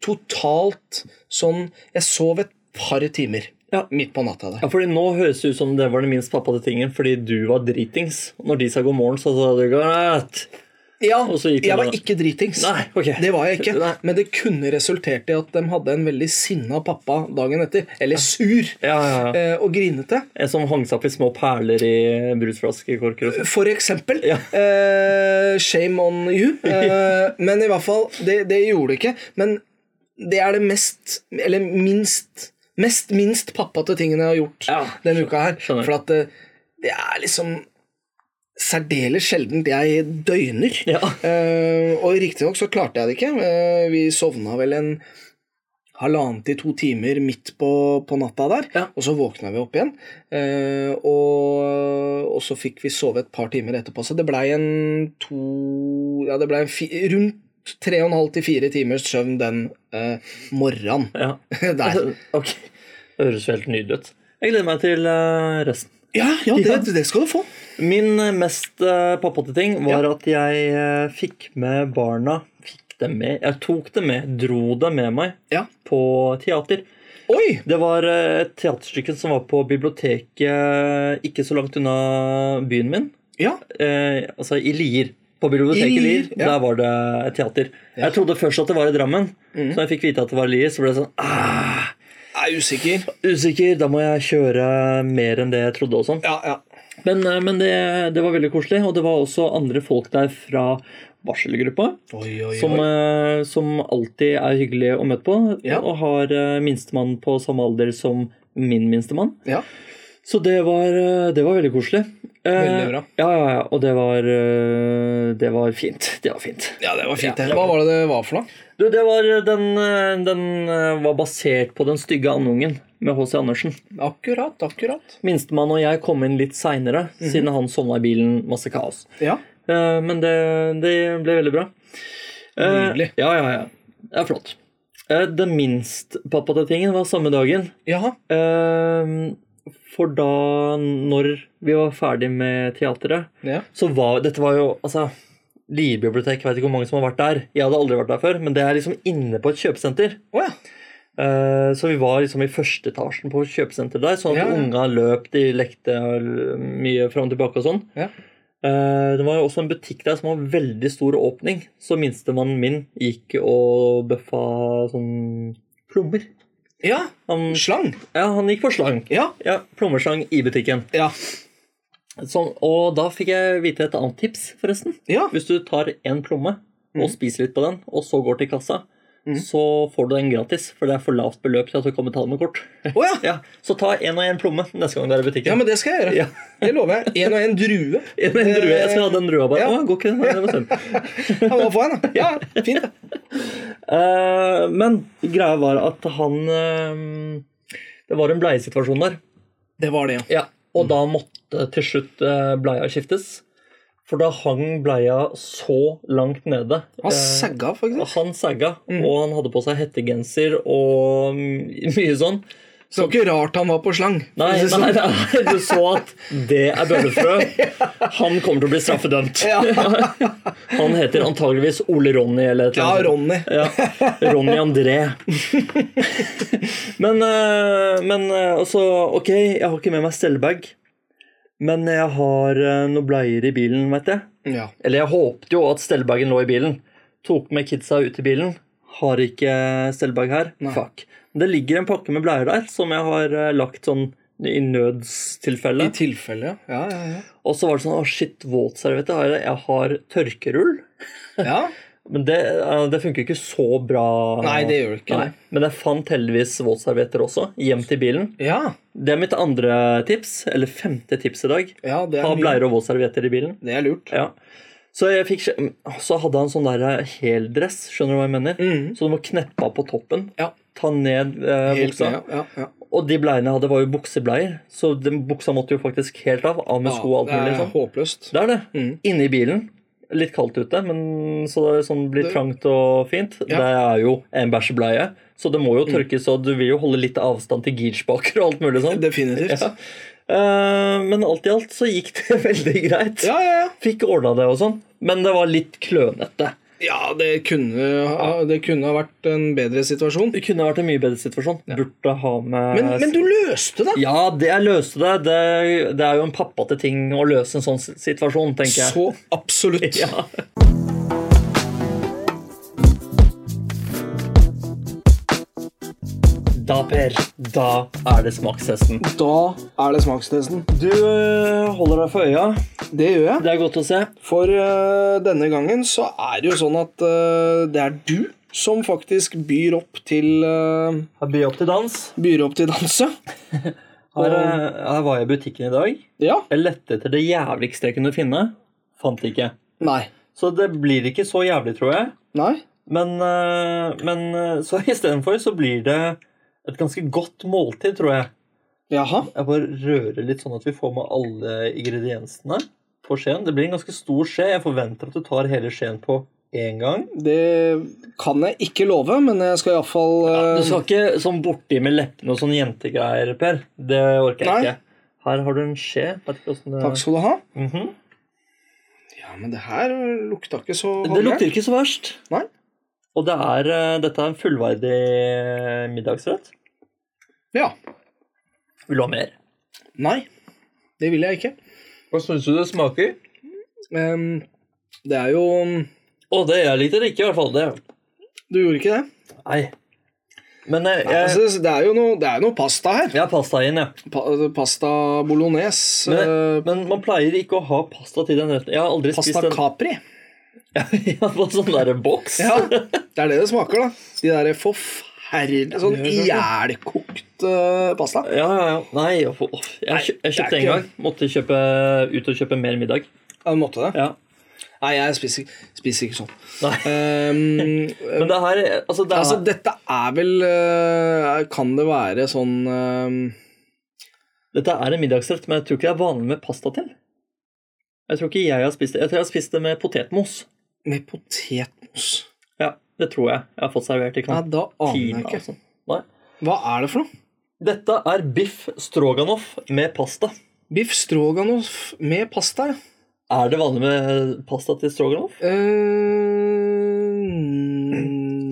S1: totalt sånn Jeg sov et par timer
S2: Ja.
S1: midt på natta der.
S2: Ja, fordi Nå høres det ut som det var den minst pappate tingen, fordi du var dritings. Når de sa god morgen, så sa du godt.
S1: Ja,
S2: Og så gikk det
S1: jeg var
S2: da.
S1: ikke dritings.
S2: Nei, ok.
S1: Det var jeg ikke.
S2: Nei.
S1: Men det kunne resultert i at de hadde en veldig sinna pappa dagen etter. Eller sur.
S2: Ja, ja, ja.
S1: eh, Og grinete.
S2: En som hang seg opp i små perler i brusflaskekorker og sånn.
S1: For eksempel.
S2: Ja.
S1: Eh, shame on you. Eh, men i hvert fall, det, det gjorde det ikke. Men det er det mest, eller minst, mest minst pappate tingen jeg har gjort
S2: Ja,
S1: denne uka her.
S2: skjønner.
S1: For at det, det er liksom særdeles sjeldent jeg døgner.
S2: Ja.
S1: Eh, og riktignok så klarte jeg det ikke. Eh, vi sovna vel en halvannen til to timer midt på, på natta der,
S2: Ja.
S1: og så våkna vi opp igjen. Eh, og, og så fikk vi sove et par timer etterpå, så det blei en to Ja, det blei en fi, rundt tre og en halv til fire timers søvn den eh, morgenen
S2: ja.
S1: der.
S2: Ok. Det høres jo helt nydelig ut. Jeg gleder meg til eh, resten.
S1: Ja, ja,
S2: Ja.
S1: det, det skal du få.
S2: Min eh, mest eh, pappate ting var at jeg eh, fikk med barna Fikk dem med Jeg tok dem med, dro dem med meg
S1: Ja.
S2: på teater.
S1: Oi!
S2: Det var eh, et teaterstykke som var på biblioteket eh, ikke så langt unna byen min.
S1: Ja.
S2: Eh, altså i Lier. På biblioteket
S1: I
S2: i
S1: Lier,
S2: Lier.
S1: ja.
S2: Der var det et teater. Jeg trodde først at det var i Drammen.
S1: Mm.
S2: Så når jeg fikk vite at det var i Lier, så ble jeg sånn ah,
S1: Jeg er usikker.
S2: Usikker. Da må jeg kjøre mer enn det jeg trodde. og sånn.
S1: Ja, ja.
S2: Men, eh, men det, det var veldig koselig, og det var også andre folk der fra barselgruppa.
S1: Oi, oi, oi.
S2: Som, eh, som alltid er hyggelig å møte på,
S1: Ja.
S2: og har eh, minstemann på samme alder som min minstemann.
S1: ja.
S2: Så det var, eh, det var veldig koselig. Eh,
S1: Veldig bra.
S2: Ja, ja, ja, og det var, eh, det var fint. Det var fint.
S1: ja, det var fint.
S2: Ja.
S1: det. Hva var det det var for noe?
S2: Du, det var, den, eh, den eh, var basert på Den stygge andungen med H.C. Andersen.
S1: Akkurat, akkurat.
S2: Minstemann og jeg kom inn litt seinere, siden han sovna i bilen. Masse kaos.
S1: Ja.
S2: Eh, Men det, det ble veldig bra. Eh,
S1: Nydelig.
S2: Ja, ja, ja. Det er flott. Eh, Den minst pappate tingen var samme dagen.
S1: Jaha.
S2: Eh, For da, når vi var ferdig med teateret,
S1: Ja.
S2: så var Dette var jo altså, Lier bibliotek, jeg vet ikke hvor mange som har vært der. Jeg hadde aldri vært der før, men det er liksom inne på et kjøpesenter.
S1: Å ja.
S2: Eh, Så vi var liksom i første etasjen på kjøpesenteret der, sånn at
S1: Ja, ja.
S2: unga løp, de lekte mye fram og tilbake og sånn.
S1: Ja.
S2: Eh, Det var jo også en butikk der som var veldig stor åpning, så minstemannen min gikk og bøffa sånn plommer.
S1: ja.
S2: Han,
S1: Slang.
S2: ja, han gikk for slang.
S1: Ja.
S2: Ja, plommerslang i butikken.
S1: Ja.
S2: Sånn, og da fikk jeg vite et annet tips, forresten.
S1: ja.
S2: Hvis du tar en plomme
S1: Mm.
S2: og spiser litt på den, og så går til kassa,
S1: Mhm.
S2: så får du den gratis, for det er for lavt beløp til at du kan betale med kort.
S1: Å ja.
S2: Ja, Så ta en og en plomme neste gang du er i
S1: ja,
S2: butikken.
S1: men det skal jeg gjøre.
S2: Ja.
S1: Det lover jeg. Én og én drue.
S2: En, en drue, jeg skal ha den drua bare.
S1: Ja.
S2: Å, går ikke den? Nei, det var synd.
S1: Ja, da får jeg den, da. Ja, fint, det.
S2: Eh, men greia var at han eh, Det var en bleiesituasjon der.
S1: Det var det, ja.
S2: Og da måtte til slutt eh, bleia skiftes. For da hang bleia så langt nede.
S1: Han
S2: Eh,
S1: sagga, faktisk.
S2: han sagga, og han hadde på seg hettegenser og mm, mye sånn.
S1: Så det var ikke rart han var på slang.
S2: Nei, nei, nei, du så at det er bøllefrø. Han kommer til å bli straffedømt. Han heter antageligvis Ole Ronny eller et
S1: Ja,
S2: eller annet.
S1: Ronny.
S2: Ja, Ronny André. Men, eh, men eh, altså, ok, jeg har ikke med meg stellebag. Men jeg har eh, noen bleier i bilen, veit jeg.
S1: Ja.
S2: Eller jeg håpte jo at stellebagen lå i bilen. Tok med kidsa ut i bilen. Har ikke stellebag her.
S1: Nei.
S2: Fuck. Men det ligger en pakke med bleier der som jeg har eh, lagt sånn i nødstilfelle.
S1: I tilfelle, ja. Ja, ja,
S2: Og så var det sånn Å, shit, våtserviette har jeg. Jeg har tørkerull.
S1: ja. ja.
S2: Men det, eh, det funker ikke så bra.
S1: Nei, det gjør det ikke.
S2: Nei. Men jeg fant heldigvis våtservietter også, hjem til bilen.
S1: Ja,
S2: Det er mitt andre tips, eller femte tips i dag.
S1: ja, det
S2: Ha
S1: er, mye.
S2: bleier og våtservietter i bilen.
S1: Det er lurt.
S2: Ja. Så, jeg fikk, mm, så hadde han sånn der heldress, skjønner du hva jeg mener?
S1: Mhm.
S2: Så du må kneppe av på toppen.
S1: Ja.
S2: Ta ned eh,
S1: Helt
S2: buksa.
S1: med, ja, ja.
S2: Og de bleiene jeg hadde, var jo buksebleier, så den buksa måtte jo faktisk helt av. Av med
S1: Ja,
S2: sko og alt mulig.
S1: Det er
S2: Sånn.
S1: håpløst.
S2: Det er det.
S1: Mhm.
S2: Inne i bilen. Litt kaldt ute, men så det er sånn blir
S1: Det-
S2: trangt og fint.
S1: Ja. Mm.
S2: Det er jo en bæsjebleie, så det må jo tørkes, og du vil jo holde litt avstand til girspaker og alt mulig sånn.
S1: Definitivt.
S2: Ja. Eh, men alt i alt så gikk det veldig greit.
S1: Ja, ja, ja.
S2: Fikk ordna det og sånn, men det var litt klønete.
S1: Ja, det kunne, ha- det kunne ha vært en bedre situasjon.
S2: Det kunne vært en mye bedre situasjon. Burde ha med
S1: Men, men du løste det!
S2: Ja, det jeg løste det. det. Det er jo en pappate ting å løse en sånn s- situasjon, tenker jeg.
S1: Så absolutt.
S2: Ja. Da, Per, da er det smakstesten.
S1: Da er det smakstesten.
S2: Du øh, holder deg for øya.
S1: Det gjør jeg.
S2: Det er godt å se.
S1: For øh, denne gangen så er det jo sånn at øh, det er du som faktisk byr opp til øh,
S2: Her byr jeg opp til dans.
S1: Byr opp til danse.
S2: Her, øh, her var jeg i butikken i dag.
S1: Ja.
S2: Jeg lette etter det jævligste jeg kunne finne. Fant det ikke.
S1: Nei.
S2: Så det blir ikke så jævlig, tror jeg.
S1: Nei.
S2: Men, øh, men øh, så istedenfor så blir det et ganske godt måltid, tror jeg.
S1: Jaha.
S2: Jeg bare rører litt sånn at vi får med alle ingrediensene på skjeen. Det blir en ganske stor skje. Jeg forventer at du tar hele skjeen på én gang.
S1: Det kan jeg ikke love, men jeg skal iallfall
S2: Du
S1: uh,
S2: skal ikke sånn borti med leppene og sånn jentegreier, Per. Det orker jeg
S1: Nei.
S2: ikke. Her har du en skje. Vet ikke hvordan det
S1: Takk skal du ha.
S2: Mhm.
S1: Ja, men det her lukta ikke så
S2: Det lukter ikke så verst.
S1: Nei.
S2: Og det er, eh, dette er en fullverdig eh, middagsrett.
S1: Ja.
S2: Vil du ha mer?
S1: Nei. Det vil jeg ikke.
S2: Hva syns du det smaker?
S1: Ehm, det er jo
S2: Å, det jeg likte det ikke, i hvert fall. det.
S1: Du gjorde ikke det?
S2: Nei. Men eh, jeg,
S1: Nei,
S2: jeg,
S1: altså, det er jo noe, det er noe pasta her.
S2: jeg har pasta inn, jeg.
S1: Pa, altså, pasta bolognese.
S2: Men,
S1: eh,
S2: men man pleier ikke å ha pasta til den retten. Jeg har aldri
S1: pasta
S2: spist den.
S1: capri.
S2: Jeg har fått sånn derre boks.
S1: Ja, det er det det smaker, da. De der forferdelige sånn ihjelkokt eh, pasta.
S2: Ja, ja, ja. Nei, jeg, får- åh, jeg, kjø- jeg
S1: Nei, det
S2: kjøpte
S1: er
S2: en
S1: ikke-
S2: gang. Måtte kjøpe, ut og kjøpe mer middag.
S1: Ja, du måtte det?
S2: Ja.
S1: Nei, jeg spiser, spiser ikke sånn.
S2: Nei.
S1: Ehm, eh,
S2: Men det her Altså, det er,
S1: altså, dette er vel eh, Kan det være sånn eh,
S2: Dette er en middagsrett, men jeg tror ikke det er vanlig med pasta til. Jeg tror ikke jeg har spist det. Jeg tror jeg har spist det med potetmos.
S1: Med potetmos?
S2: Ja, Det tror jeg jeg har fått servert i
S1: Ja, da aner jeg
S2: kantina.
S1: ikke.
S2: Altså. Nei.
S1: Hva er det for noe?
S2: Dette er biff stroganoff med pasta.
S1: Biff stroganoff med pasta, ja.
S2: Er det vanlig med pasta til stroganoff?
S1: Eh,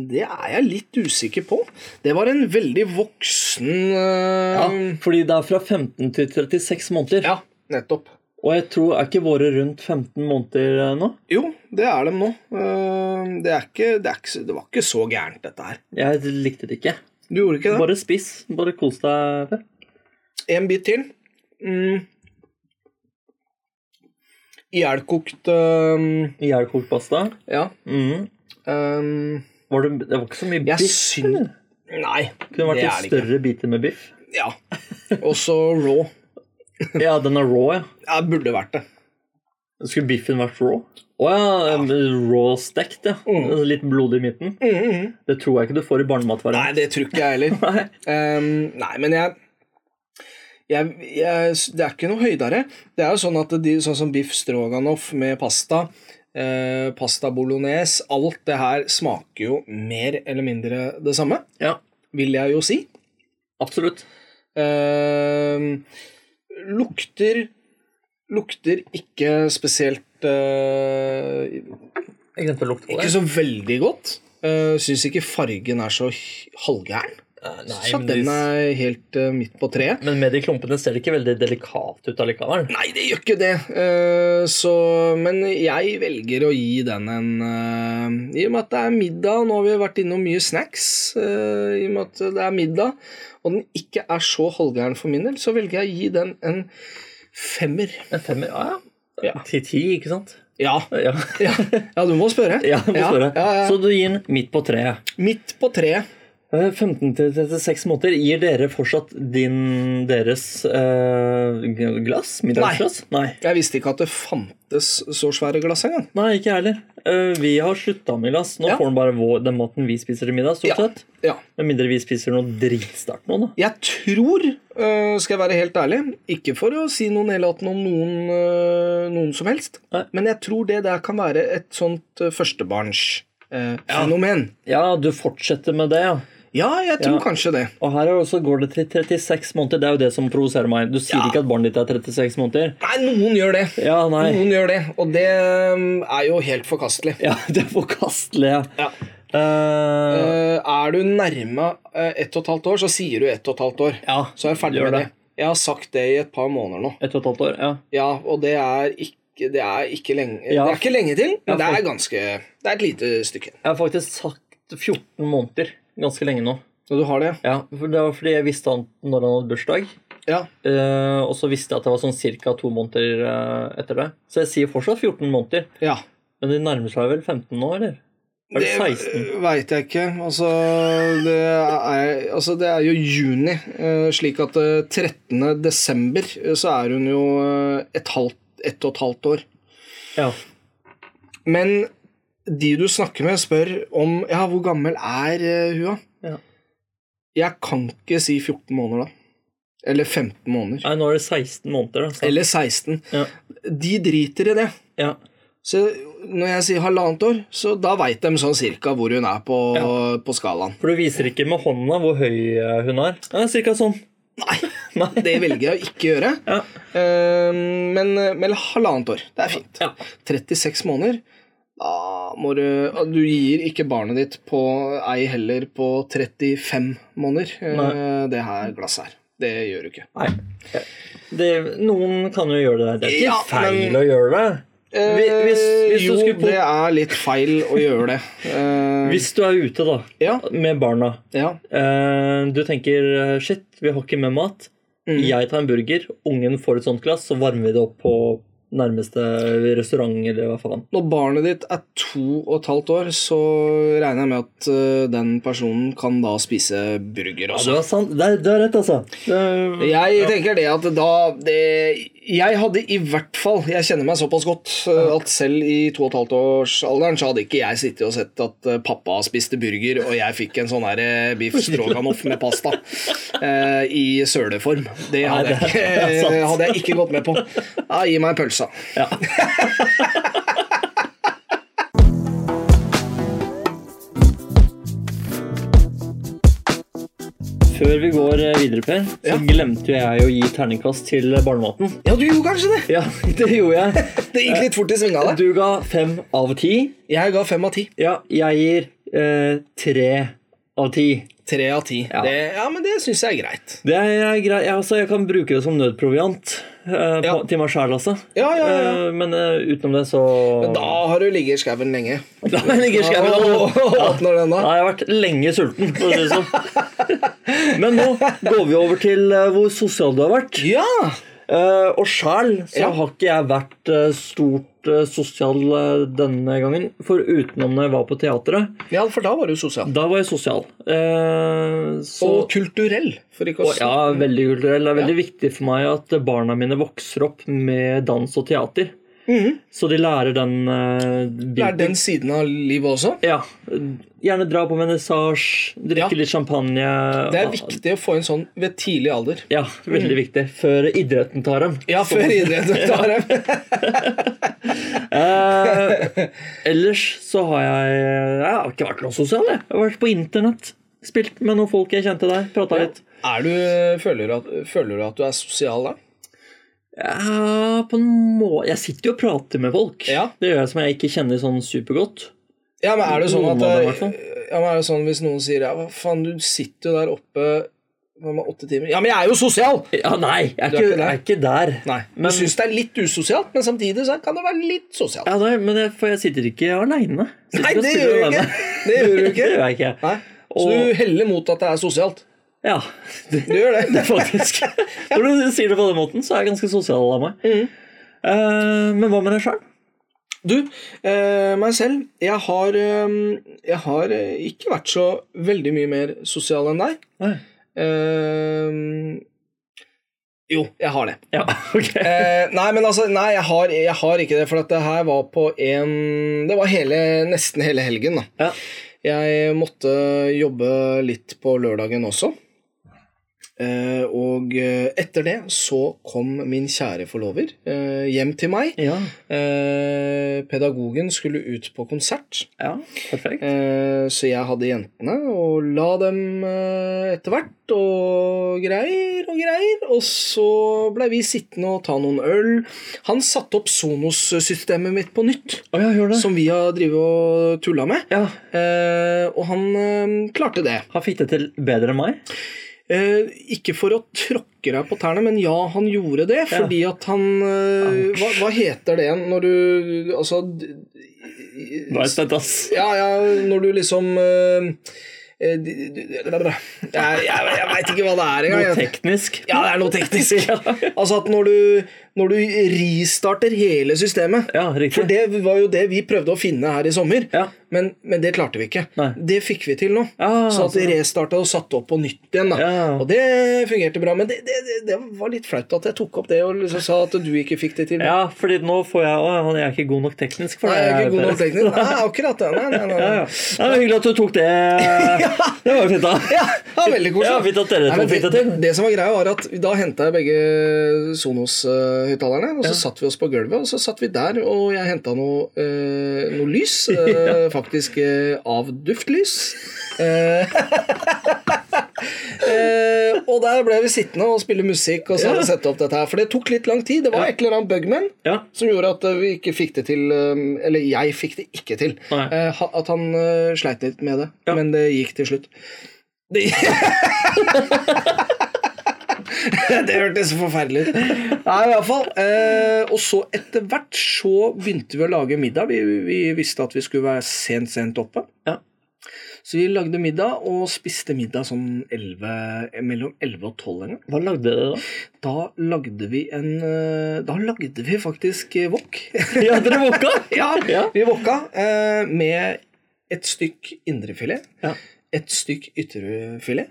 S1: det er jeg litt usikker på. Det var en veldig voksen
S2: Ja,
S1: eh,
S2: fordi det er fra 15 til 36 måneder.
S1: ja, nettopp.
S2: Og jeg tror er ikke våre rundt 15 måneder eh, nå?
S1: Jo, det er dem nå. Eh, Det, er ikke, det, er ikke, så- det var ikke så gærent, dette her.
S2: Jeg likte det ikke.
S1: Du gjorde ikke det?
S2: Bare spis. Bare kos deg. Per.
S1: En bit til. Mm. Ihjelkokt eh,
S2: Ihjelkokt pasta.
S1: Ja.
S2: Mm.
S1: eh,
S2: Var det, det var ikke så mye
S1: jeg
S2: biff.
S1: syns Nei,
S2: Kunne vært
S1: det er
S2: litt
S1: det ikke.
S2: større biter med biff.
S1: Ja. Og så raw.
S2: Ja, den er raw, ja.
S1: Ja, det burde vært det.
S2: Skulle biffen vært raw? Å ja, em, raw stekt, ja. Altså,
S1: Mm.
S2: Litt blodig i midten. Det tror jeg ikke du får i barnematvaren.
S1: Nei, det tror ikke jeg heller.
S2: Nei.
S1: Ehm, nei, men jeg, jeg, jeg Det er ikke noe høydere. Det er jo sånn at de, sånn som biff stroganoff med pasta, eh, pasta bolognese Alt det her smaker jo mer eller mindre det samme,
S2: Ja,
S1: vil jeg jo si.
S2: absolutt.
S1: Eh, lukter Lukter ikke spesielt eh,
S2: Jeg glemte å lukte på
S1: Ikke
S2: det.
S1: så veldig godt. Uh, Syns ikke fargen er så h- halvgæren.
S2: Eh, Nei,
S1: Så
S2: men,
S1: den
S2: de,
S1: er helt eh, midt på treet.
S2: men med de klumpene ser det ikke veldig delikat ut allikevel.
S1: Nei, det gjør ikke det. Eh, så, men jeg velger å gi den en eh, I og med at det er middag, nå har vi vært innom mye snacks eh, I og med at det er middag, og den ikke er så halvgæren for min del, så velger jeg å gi den en femmer.
S2: En femmer? ah, Ja, ja.
S1: Ja.
S2: Ti-ti, ikke sant?
S1: Ja.
S2: Ja,
S1: Ja, ja du må spørre.
S2: ja, jeg må spørre.
S1: Ja, ja,
S2: Så du gir den midt på treet.
S1: ja. Midt på treet.
S2: Eh, 15 til 36 måneder. Gir dere fortsatt din deres eh, g- glass? Middagsglass? Nei.
S1: Jeg visste ikke at det fantes så svære glass engang.
S2: Nei, ikke jeg heller. Eh, vi har slutta med glass. Nå
S1: Ja.
S2: får den bare vår, den maten vi spiser til middag, stort
S1: Ja.
S2: sett.
S1: Ja.
S2: Med mindre vi spiser noe dritsterkt nå, da.
S1: Jeg tror, øh, skal jeg være helt ærlig, ikke for å si noe nedlatende om noen, øh, noen som helst,
S2: Nei.
S1: men jeg tror det der kan være et sånt øh, førstebarnsfenomen.
S2: Ja, du fortsetter med det, ja.
S1: ja. jeg tror
S2: Ja.
S1: kanskje det.
S2: Og her er også går det til 36 måneder. Det er jo det som provoserer meg. Du sier
S1: Ja.
S2: ikke at barnet ditt er 36 måneder.
S1: Nei, noen gjør det.
S2: Ja, nei.
S1: Noen gjør det, og det øh, er jo helt forkastelig.
S2: Ja, det er forkastelig. Ja.
S1: Ja.
S2: Eh,
S1: Øh, er du nærme øh, ett og et halvt år, så sier du ett og et halvt år.
S2: ja.
S1: Så er jeg ferdig
S2: Gjør
S1: med det.
S2: det.
S1: Jeg har sagt det i et par måneder nå.
S2: Et og et halvt år. Ja.
S1: Ja, og det er ikke, det er ikke lenge
S2: Ja.
S1: Det er ikke lenge til, men
S2: Ja, for-
S1: det er ganske Det er et lite stykke.
S2: Jeg har faktisk sagt 14 måneder ganske lenge nå.
S1: Så du har det,
S2: Ja, for Det var fordi jeg visste han når han hadde bursdag.
S1: ja.
S2: eh, og så visste jeg at det var sånn ca. to måneder eh, etter det. Så jeg sier fortsatt 14 måneder.
S1: ja.
S2: Men de nærmer seg vel 15 nå, eller? Er det 16?
S1: veit eh, jeg ikke. Altså det, er, altså, det er jo juni, eh, slik at eh, 13. desember eh, så er hun jo eh, et halvt, ett og et halvt år.
S2: Ja.
S1: Men de du snakker med, spør om Ja, hvor gammel er eh, hun, da?
S2: Ja.
S1: Jeg kan ikke si 14 måneder, da. Eller 15 måneder.
S2: Nei, nå er det 16 måneder, da. så-
S1: Eller 16.
S2: Ja.
S1: De driter i det.
S2: Ja.
S1: Så når jeg sier halvannet år, så da veit de sånn cirka hvor hun er på, på skalaen.
S2: For du viser ikke med hånda hvor høy eh, hun er. Ja, cirka sånn.
S1: Nei,
S2: Nei.
S1: det velger jeg å ikke gjøre.
S2: Ja.
S1: Eh, Men, men halvannet år, det er fint.
S2: Ja.
S1: 36 måneder, da må du og Du gir ikke barnet ditt på ei heller på 35 måneder, eh,
S2: Nei.
S1: det her glasset her. Det gjør du ikke.
S2: Nei. Det, noen kan jo gjøre det der. Det er ikke
S1: Ja,
S2: feil
S1: men-
S2: å gjøre det. Hvis, hvis, hvis,
S1: Eh, jo,
S2: du skulle
S1: det
S2: på,
S1: er litt feil å gjøre det. Eh,
S2: hvis du er ute, da,
S1: Ja,
S2: med barna
S1: ja.
S2: eh, Du tenker eh, shit, vi har ikke med mat.
S1: Mm.
S2: Jeg tar en burger, ungen får et sånt glass, så varmer vi det opp på nærmeste restaurant eller hva faen.
S1: Når barnet ditt er to og et halvt år, så regner jeg med at eh, den personen kan da spise burger
S2: Ja,
S1: også.
S2: du har sant. Det er, du har rett, altså. Det er-
S1: Jeg tenker det at da det, Jeg hadde i hvert fall Jeg kjenner meg såpass godt eh, at selv i to og et halvt års alderen så hadde ikke jeg sittet og sett at eh, pappa spiste burger, og jeg fikk en sånn her eh, biff stroganoff med pasta eh, i søleform. Det hadde jeg,
S2: det er- det er sant.
S1: ikke- hadde jeg ikke gått med på. Ja, gi meg pølsa.
S2: Før vi går eh, videre, Per, så
S1: Ja.
S2: glemte jo jeg å gi terningkast til barnematen.
S1: Ja, du gjorde kanskje det.
S2: Ja, det gjorde jeg.
S1: Det gikk litt fort i svinga der.
S2: Du ga fem av ti.
S1: Jeg ga fem av ti.
S2: Ja, jeg gir eh, tre av ti.
S1: Tre av ti.
S2: Ja.
S1: Ja. ja, men det syns jeg er greit.
S2: Det er greit. Jeg, altså, jeg kan bruke det som nødproviant eh, på,
S1: Ja.
S2: til meg sjæl, altså.
S1: Ja, ja, ja.
S2: Eh, men eh, utenom det, så
S1: Da har du ligget i skauen lenge.
S2: Da ligger skauen
S1: Åh,
S2: og
S1: åpner den
S2: Da
S1: da.
S2: har jeg vært lenge sulten, for å si det sånn. Men nå går vi over til eh, hvor sosial du har vært.
S1: Ja!
S2: Eh, og sjæl så
S1: Ja.
S2: har ikke jeg vært eh, stort eh, sosial eh, denne gangen. For utenom når jeg var på teatret,
S1: ja, for da var du sosial.
S2: da var jeg sosial. Eh, så
S1: Og kulturell, for ikke å
S2: og, Ja, veldig kulturell. Det er veldig viktig for meg at barna mine vokser opp med dans og teater.
S1: Mhm.
S2: Så de lærer den eh,
S1: Det
S2: biten.
S1: er den siden av livet også.
S2: Ja. Gjerne dra på vernissasje, drikke
S1: Ja.
S2: litt champagne.
S1: Det er viktig Mm. å få en sånn ved tidlig alder.
S2: Ja, veldig viktig. Før idretten tar dem.
S1: Ja, før idretten tar dem.
S2: Eh, ellers så har jeg Jeg har ikke vært noe sosial, jeg. jeg har vært på internett. Spilt med noen folk jeg kjente der. Prata litt.
S1: Er du, føler, du at, føler du at du er sosial da?
S2: Ja, på en måte Jeg sitter jo og prater med folk.
S1: Ja.
S2: Det gjør jeg som jeg ikke kjenner sånn supergodt.
S1: Ja, men er det sånn at
S2: Noen av dem, i hvert fall.
S1: ja, men er det sånn Hvis noen sier ja, hva faen, du sitter jo der oppe hva med åtte timer Ja, men jeg er jo sosial!
S2: Ja, nei, jeg er,
S1: Du
S2: ikke, jeg er ikke der.
S1: Nei,
S2: Men-
S1: Du syns det er litt usosialt, men samtidig så kan det være litt sosialt.
S2: Ja, nei, men jeg, for jeg sitter ikke aleine.
S1: Nei, det gjør du ikke! Det gjør du
S2: Det
S1: ikke.
S2: gjør jeg ikke.
S1: Nei. Så
S2: Og-
S1: du heller mot at det er sosialt.
S2: Ja, det,
S1: Du gjør det.
S2: faktisk. Når du sier det på den måten, så er jeg ganske sosial av meg. Eh, men hva med deg sjøl?
S1: Mm. Du, eh, meg selv, jeg har, eh, jeg har eh, ikke vært så veldig mye mer sosial enn deg. Eh, jo, jeg har det.
S2: Ja, ok.
S1: Eh, nei, men altså, nei, jeg har, jeg har ikke det, for at det her var på en Det var hele, nesten hele helgen, da.
S2: Ja.
S1: Jeg måtte jobbe litt på lørdagen også. Eh, og eh, etter det så kom min kjære forlover eh, hjem til meg.
S2: Ja,
S1: Eh, pedagogen skulle ut på konsert,
S2: ja, perfekt.
S1: eh, så jeg hadde jentene og la dem eh, etter hvert og greier og greier. Og så blei vi sittende og ta noen øl. Han satte opp Sonos-systemet mitt på nytt,
S2: Å ja, gjør det.
S1: som vi har drevet og tulla med.
S2: Ja,
S1: Eh, og han eh, klarte det.
S2: Han fikk det til bedre enn meg.
S1: Eh, ikke for å tråkke deg på tærne, men ja, han gjorde det. Fordi at han eh, hva, hva heter det igjen når du Altså d-
S2: Nå er jeg spent, ass.
S1: Ja, ja, når du liksom eh, eh, d- d- d- Jeg, jeg, jeg veit ikke hva det er
S2: Noe
S1: engang.
S2: teknisk.
S1: Ja, det er noe teknisk.
S2: Ja.
S1: Altså at når du, når du restarter hele systemet
S2: Ja, riktig.
S1: For det var jo det vi prøvde å finne her i sommer,
S2: Ja.
S1: men, men det klarte vi ikke.
S2: Nei.
S1: Det fikk vi til nå.
S2: Ja,
S1: så
S2: altså.
S1: at vi restarta og satte opp på nytt igjen. Da.
S2: Ja.
S1: Og det fungerte bra. Men det, det, det- det var litt flaut at jeg tok opp det og liksom sa at du ikke fikk det til.
S2: Ja, fordi nå får jeg Å, han er ikke god nok teknisk for
S1: Nei, jeg er
S2: det.
S1: ikke god nok teknisk. Nei, akkurat det. Nei, nei, nei.
S2: Ja, ja. ja, men Hyggelig at du tok det. Det var jo fint, da.
S1: Ja, ja, veldig koselig.
S2: Ja, fint at dere
S1: Nei, men
S2: to fikk det
S1: det,
S2: til.
S1: det som var greia, var at da henta jeg begge Sonos-høyttalerne, og så satt vi oss på gulvet, og så satt vi der, og jeg henta noe, eh, noe lys, eh, faktisk eh, av duftlys. Eh, eh, og der ble vi sittende og spille musikk, og så hadde jeg sett opp dette her. For det tok litt lang tid. Det var et eller annet bugman
S2: Ja.
S1: som gjorde at eh, vi ikke fikk det til eh, Eller jeg fikk det ikke til.
S2: Nei.
S1: Eh, ha- At han eh, sleit litt med det,
S2: Ja.
S1: men det gikk til slutt. Det, det hørtes så forferdelig ut. Nei, i hvert fall. Eh, og så etter hvert så begynte vi å lage middag. Vi, vi visste at vi skulle være sent, sent oppe.
S2: Ja.
S1: Så vi lagde middag og spiste middag sånn 11, mellom 11 og 12 en gang.
S2: Hva lagde dere da?
S1: Da lagde vi en eh, Da lagde vi faktisk eh, wok.
S2: Ja, dere våka?
S1: Ja,
S2: Ja.
S1: vi wokka eh, med et stykk indrefilet,
S2: Ja.
S1: et stykk ytrefilet,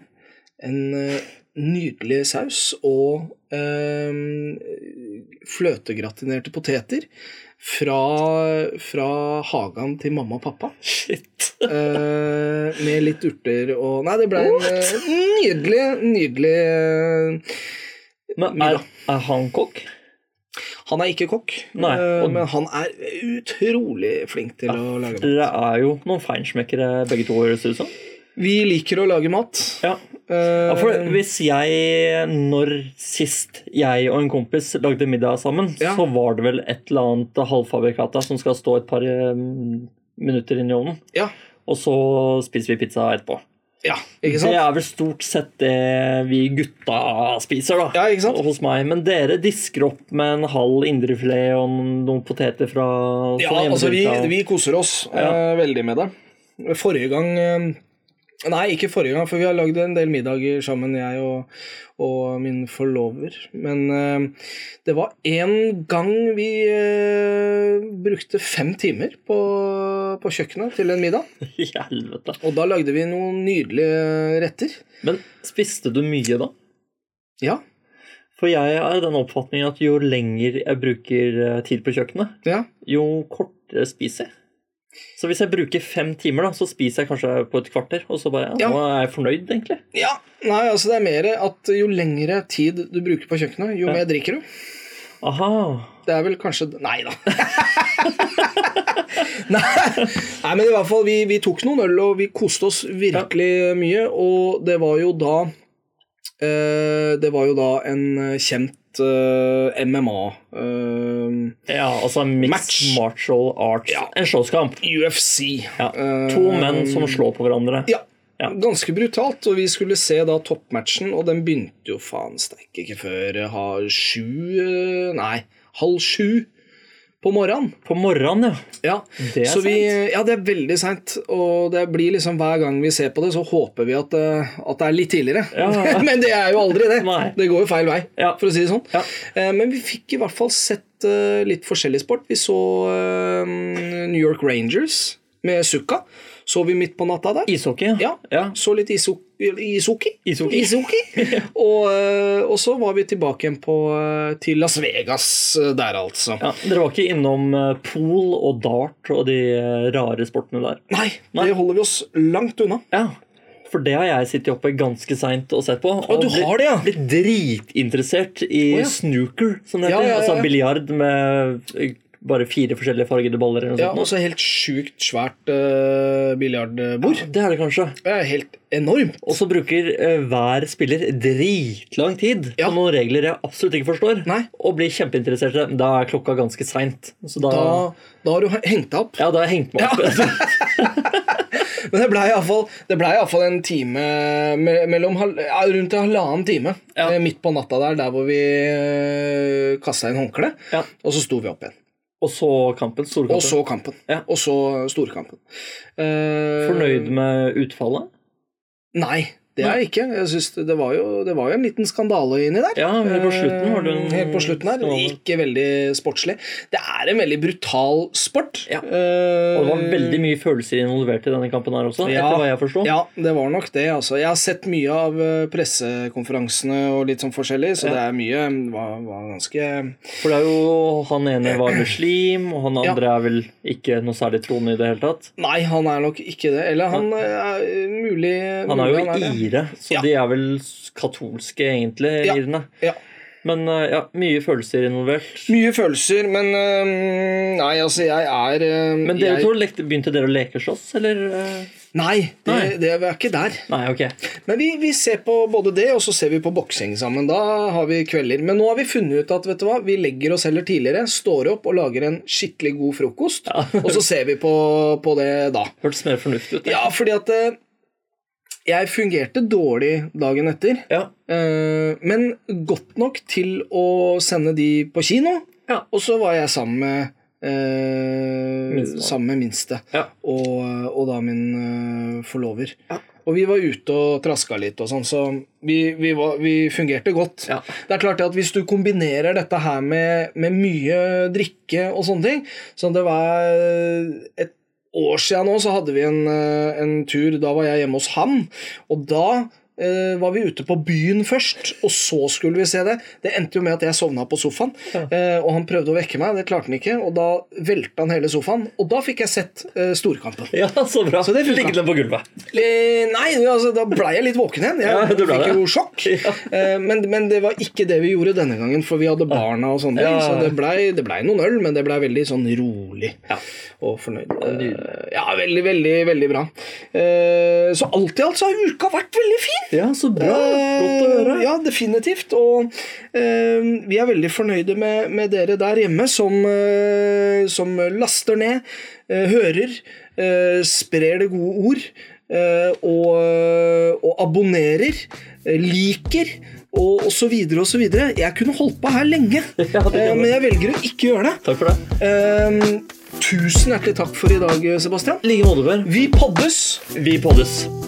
S1: en eh, nydelig saus og eh, fløtegratinerte poteter fra, fra hagen til mamma og pappa.
S2: Shit.
S1: Eh, med litt urter og Nei, det ble en eh, nydelig, nydelig eh,
S2: Men er, er han kokk?
S1: Han er ikke kokk,
S2: Nei,
S1: eh,
S2: og-
S1: men han er utrolig flink til å lage mat.
S2: Dere er jo noen feinschmeckere begge to, høres det ut som.
S1: Vi liker å lage mat.
S2: Ja. ja, for
S1: Eh.
S2: hvis jeg Når sist jeg og en kompis lagde middag sammen,
S1: Ja.
S2: så var det vel et eller annet halvfabrikata som skal stå et par eh, minutter inn i ovnen,
S1: ja,
S2: og så spiser vi pizza etterpå.
S1: ja, ikke
S2: Det
S1: sant?
S2: er vel stort sett det vi gutta spiser, da.
S1: Ja, ikke sant?
S2: Hos meg. Men dere disker opp med en halv indrefilet og noen poteter fra fra sånn
S1: Ja, altså vi,
S2: hjemmebygda.
S1: vi koser oss eh, veldig med det. Forrige gang eh, Nei, ikke forrige gang, for vi har lagd en del middager sammen, jeg og, og min forlover. Men eh, det var én gang vi eh, brukte fem timer på, på kjøkkenet til en middag.
S2: I Helvete.
S1: Og da lagde vi noen nydelige retter.
S2: Men spiste du mye, da?
S1: Ja.
S2: For jeg er av den oppfatningen at jo lenger jeg bruker eh, tid på kjøkkenet,
S1: ja.
S2: jo kortere spiser jeg. Så hvis jeg bruker fem timer, da, så spiser jeg kanskje på et kvarter, og så bare ja,
S1: Ja.
S2: nå er jeg fornøyd, egentlig.
S1: Ja, nei, altså det er mer at jo lengre tid du bruker på kjøkkenet, jo mer drikker du.
S2: Aha.
S1: Det er vel kanskje Nei da. nei, nei, men i hvert fall, vi, vi tok noen øl, og vi koste oss virkelig mye. Og det var jo da Eh, Det var jo da en kjent eh, MMA eh,
S2: Ja, altså mixed
S1: Match.
S2: martial arts.
S1: Ja.
S2: En slåsskamp.
S1: UFC.
S2: Ja.
S1: Eh,
S2: To menn som slår på hverandre.
S1: Ja.
S2: Ja.
S1: Ganske brutalt, og vi skulle se da toppmatchen, og den begynte jo faen steike ikke før eh, ha sju eh, Nei, halv sju på morgenen.
S2: På morgenen, ja.
S1: Ja,
S2: Det er
S1: så vi,
S2: sent.
S1: ja, det er veldig seint. Og det blir liksom hver gang vi ser på det, så håper vi at, eh, at det er litt tidligere.
S2: Ja.
S1: men det er jo aldri det.
S2: Nei.
S1: Det går jo feil vei,
S2: Ja.
S1: for å si det sånn.
S2: Ja.
S1: Eh, Men vi fikk i hvert fall sett eh, litt forskjellig sport. Vi så eh, New York Rangers med Sukka. Så vi midt på natta der.
S2: Ishockey.
S1: Ja.
S2: ja.
S1: Så litt iso ishockey.
S2: Ishockey.
S1: og, eh, og så var vi tilbake igjen på, eh, til Las Vegas eh, der, altså.
S2: Ja, dere var ikke innom eh, pool og dart og de eh, rare sportene der?
S1: Nei, det holder vi oss langt unna.
S2: Ja, for det har jeg sittet oppe ganske seint og sett på. Og
S1: du har det, ja.
S2: Blitt dritinteressert i
S1: Å, ja.
S2: snooker, som det
S1: Ja,
S2: heter.
S1: ja, ja, ja.
S2: Altså biljard med eh, bare fire forskjellige fargede baller eller noe
S1: Ja,
S2: sånt.
S1: og så helt sjukt svært eh, biljardbord.
S2: Det er det kanskje.
S1: Det er helt enormt.
S2: Og så bruker eh, hver spiller dritlang tid
S1: Ja.
S2: på noen regler jeg absolutt ikke forstår,
S1: Nei.
S2: og blir kjempeinteressert i det. Da er klokka ganske seint. Så da,
S1: Da, da har du hengt deg opp.
S2: Ja, da har jeg hengt meg opp.
S1: Men det blei iallfall ble i hvert fall en time me- mellom, hal- ja, rundt en halvannen time
S2: Ja.
S1: eh, midt på natta der, der hvor vi uh, kasta inn håndkle,
S2: Ja.
S1: og så sto vi opp igjen.
S2: Og så kampen. Storkampen.
S1: Og så kampen.
S2: Ja.
S1: Og så storkampen. Eh,
S2: Fornøyd med utfallet?
S1: Nei, det er jeg ikke. Jeg synes det, det, var jo, det var jo en liten skandale inni der.
S2: Ja, helt på slutten var det en
S1: Eh, Helt på slutten her.
S2: skandale.
S1: Ikke veldig sportslig. Det er en veldig brutal sport.
S2: Ja.
S1: Eh,
S2: Og det var veldig mye følelser involvert i denne kampen her også,
S1: Ja.
S2: etter hva jeg forsto.
S1: Ja, det var nok det. altså. Jeg har sett mye av eh, pressekonferansene og litt sånn forskjellig, så
S2: Ja.
S1: det er mye det var, var ganske
S2: For det er jo han ene var muslim, og han andre er vel ikke noe særlig troende i det hele tatt.
S1: Nei, han er nok ikke det. Eller han eh, er mulig
S2: Han er
S1: mulig
S2: jo
S1: det.
S2: ire, så
S1: Ja.
S2: de er vel s- katolske, egentlig,
S1: Ja.
S2: irene.
S1: Ja.
S2: Men eh, ja, mye følelser involvert.
S1: Mye følelser, men eh, Nei, altså, jeg er eh,
S2: Men dere
S1: jeg,
S2: to lekte, begynte dere å lekeslåss, eller? eh?
S1: Nei, det,
S2: Nei.
S1: det, vi er ikke der.
S2: Nei, ok.
S1: Men vi, vi ser på både det, og så ser vi på boksing sammen. Da har vi kvelder. Men nå har vi funnet ut at vet du hva, vi legger oss heller tidligere, står opp og lager en skikkelig god frokost, og så ser vi på, på det da.
S2: Hørtes mer fornuftig ut. det.
S1: Ja, fordi at eh, jeg fungerte dårlig dagen etter,
S2: Ja.
S1: eh, men godt nok til å sende de på kino,
S2: Ja.
S1: og så var jeg sammen med eh,
S2: Minstemann.
S1: sammen med minste
S2: Ja.
S1: og, og da min eh, forlover.
S2: Ja.
S1: Og vi var ute og traska litt, og sånn, så vi, vi, var, vi fungerte godt.
S2: Ja.
S1: Det er klart at Hvis du kombinerer dette her med, med mye drikke og sånne ting Så det var eh, et år siden nå, så hadde vi en, eh, en tur. Da var jeg hjemme hos han. Og da eh, var vi ute på byen først, og så skulle vi se det. Det endte jo med at jeg sovna på sofaen, eh, og han prøvde å vekke meg. Det klarte han ikke, og da velta han hele sofaen. Og da fikk jeg sett eh, storkampen.
S2: ja, så bra.
S1: Så det funka.
S2: Ligget den på gulvet.
S1: Eh, Nei, altså, da ble jeg litt våken igjen. Jeg
S2: Ja, du ble
S1: fikk
S2: det.
S1: jo sjokk. Eh, Men, men det var ikke det vi gjorde denne gangen, for vi hadde barna og sånne ting.
S2: Ja.
S1: Så det blei det ble noen øl, men det blei veldig sånn rolig
S2: Ja.
S1: og fornøyd. Eh, Ja, veldig, veldig, veldig bra. Eh, Så alt i alt så har uka vært veldig fin.
S2: Ja, så bra. Godt å
S1: Eh,
S2: høre.
S1: Ja, definitivt. Og eh, vi er veldig fornøyde med, med dere der hjemme som, eh, som laster ned, eh, hører, eh, sprer det gode ord eh, og, og abonnerer, eh, liker og, og så videre og så videre. Jeg kunne holdt på her lenge,
S2: det kan du.
S1: eh, men jeg velger å ikke gjøre det.
S2: Takk for det.
S1: Eh, tusen hjertelig takk for i dag, Sebastian.
S2: I like måte, Per.
S1: Vi poddes!
S2: Vi poddes.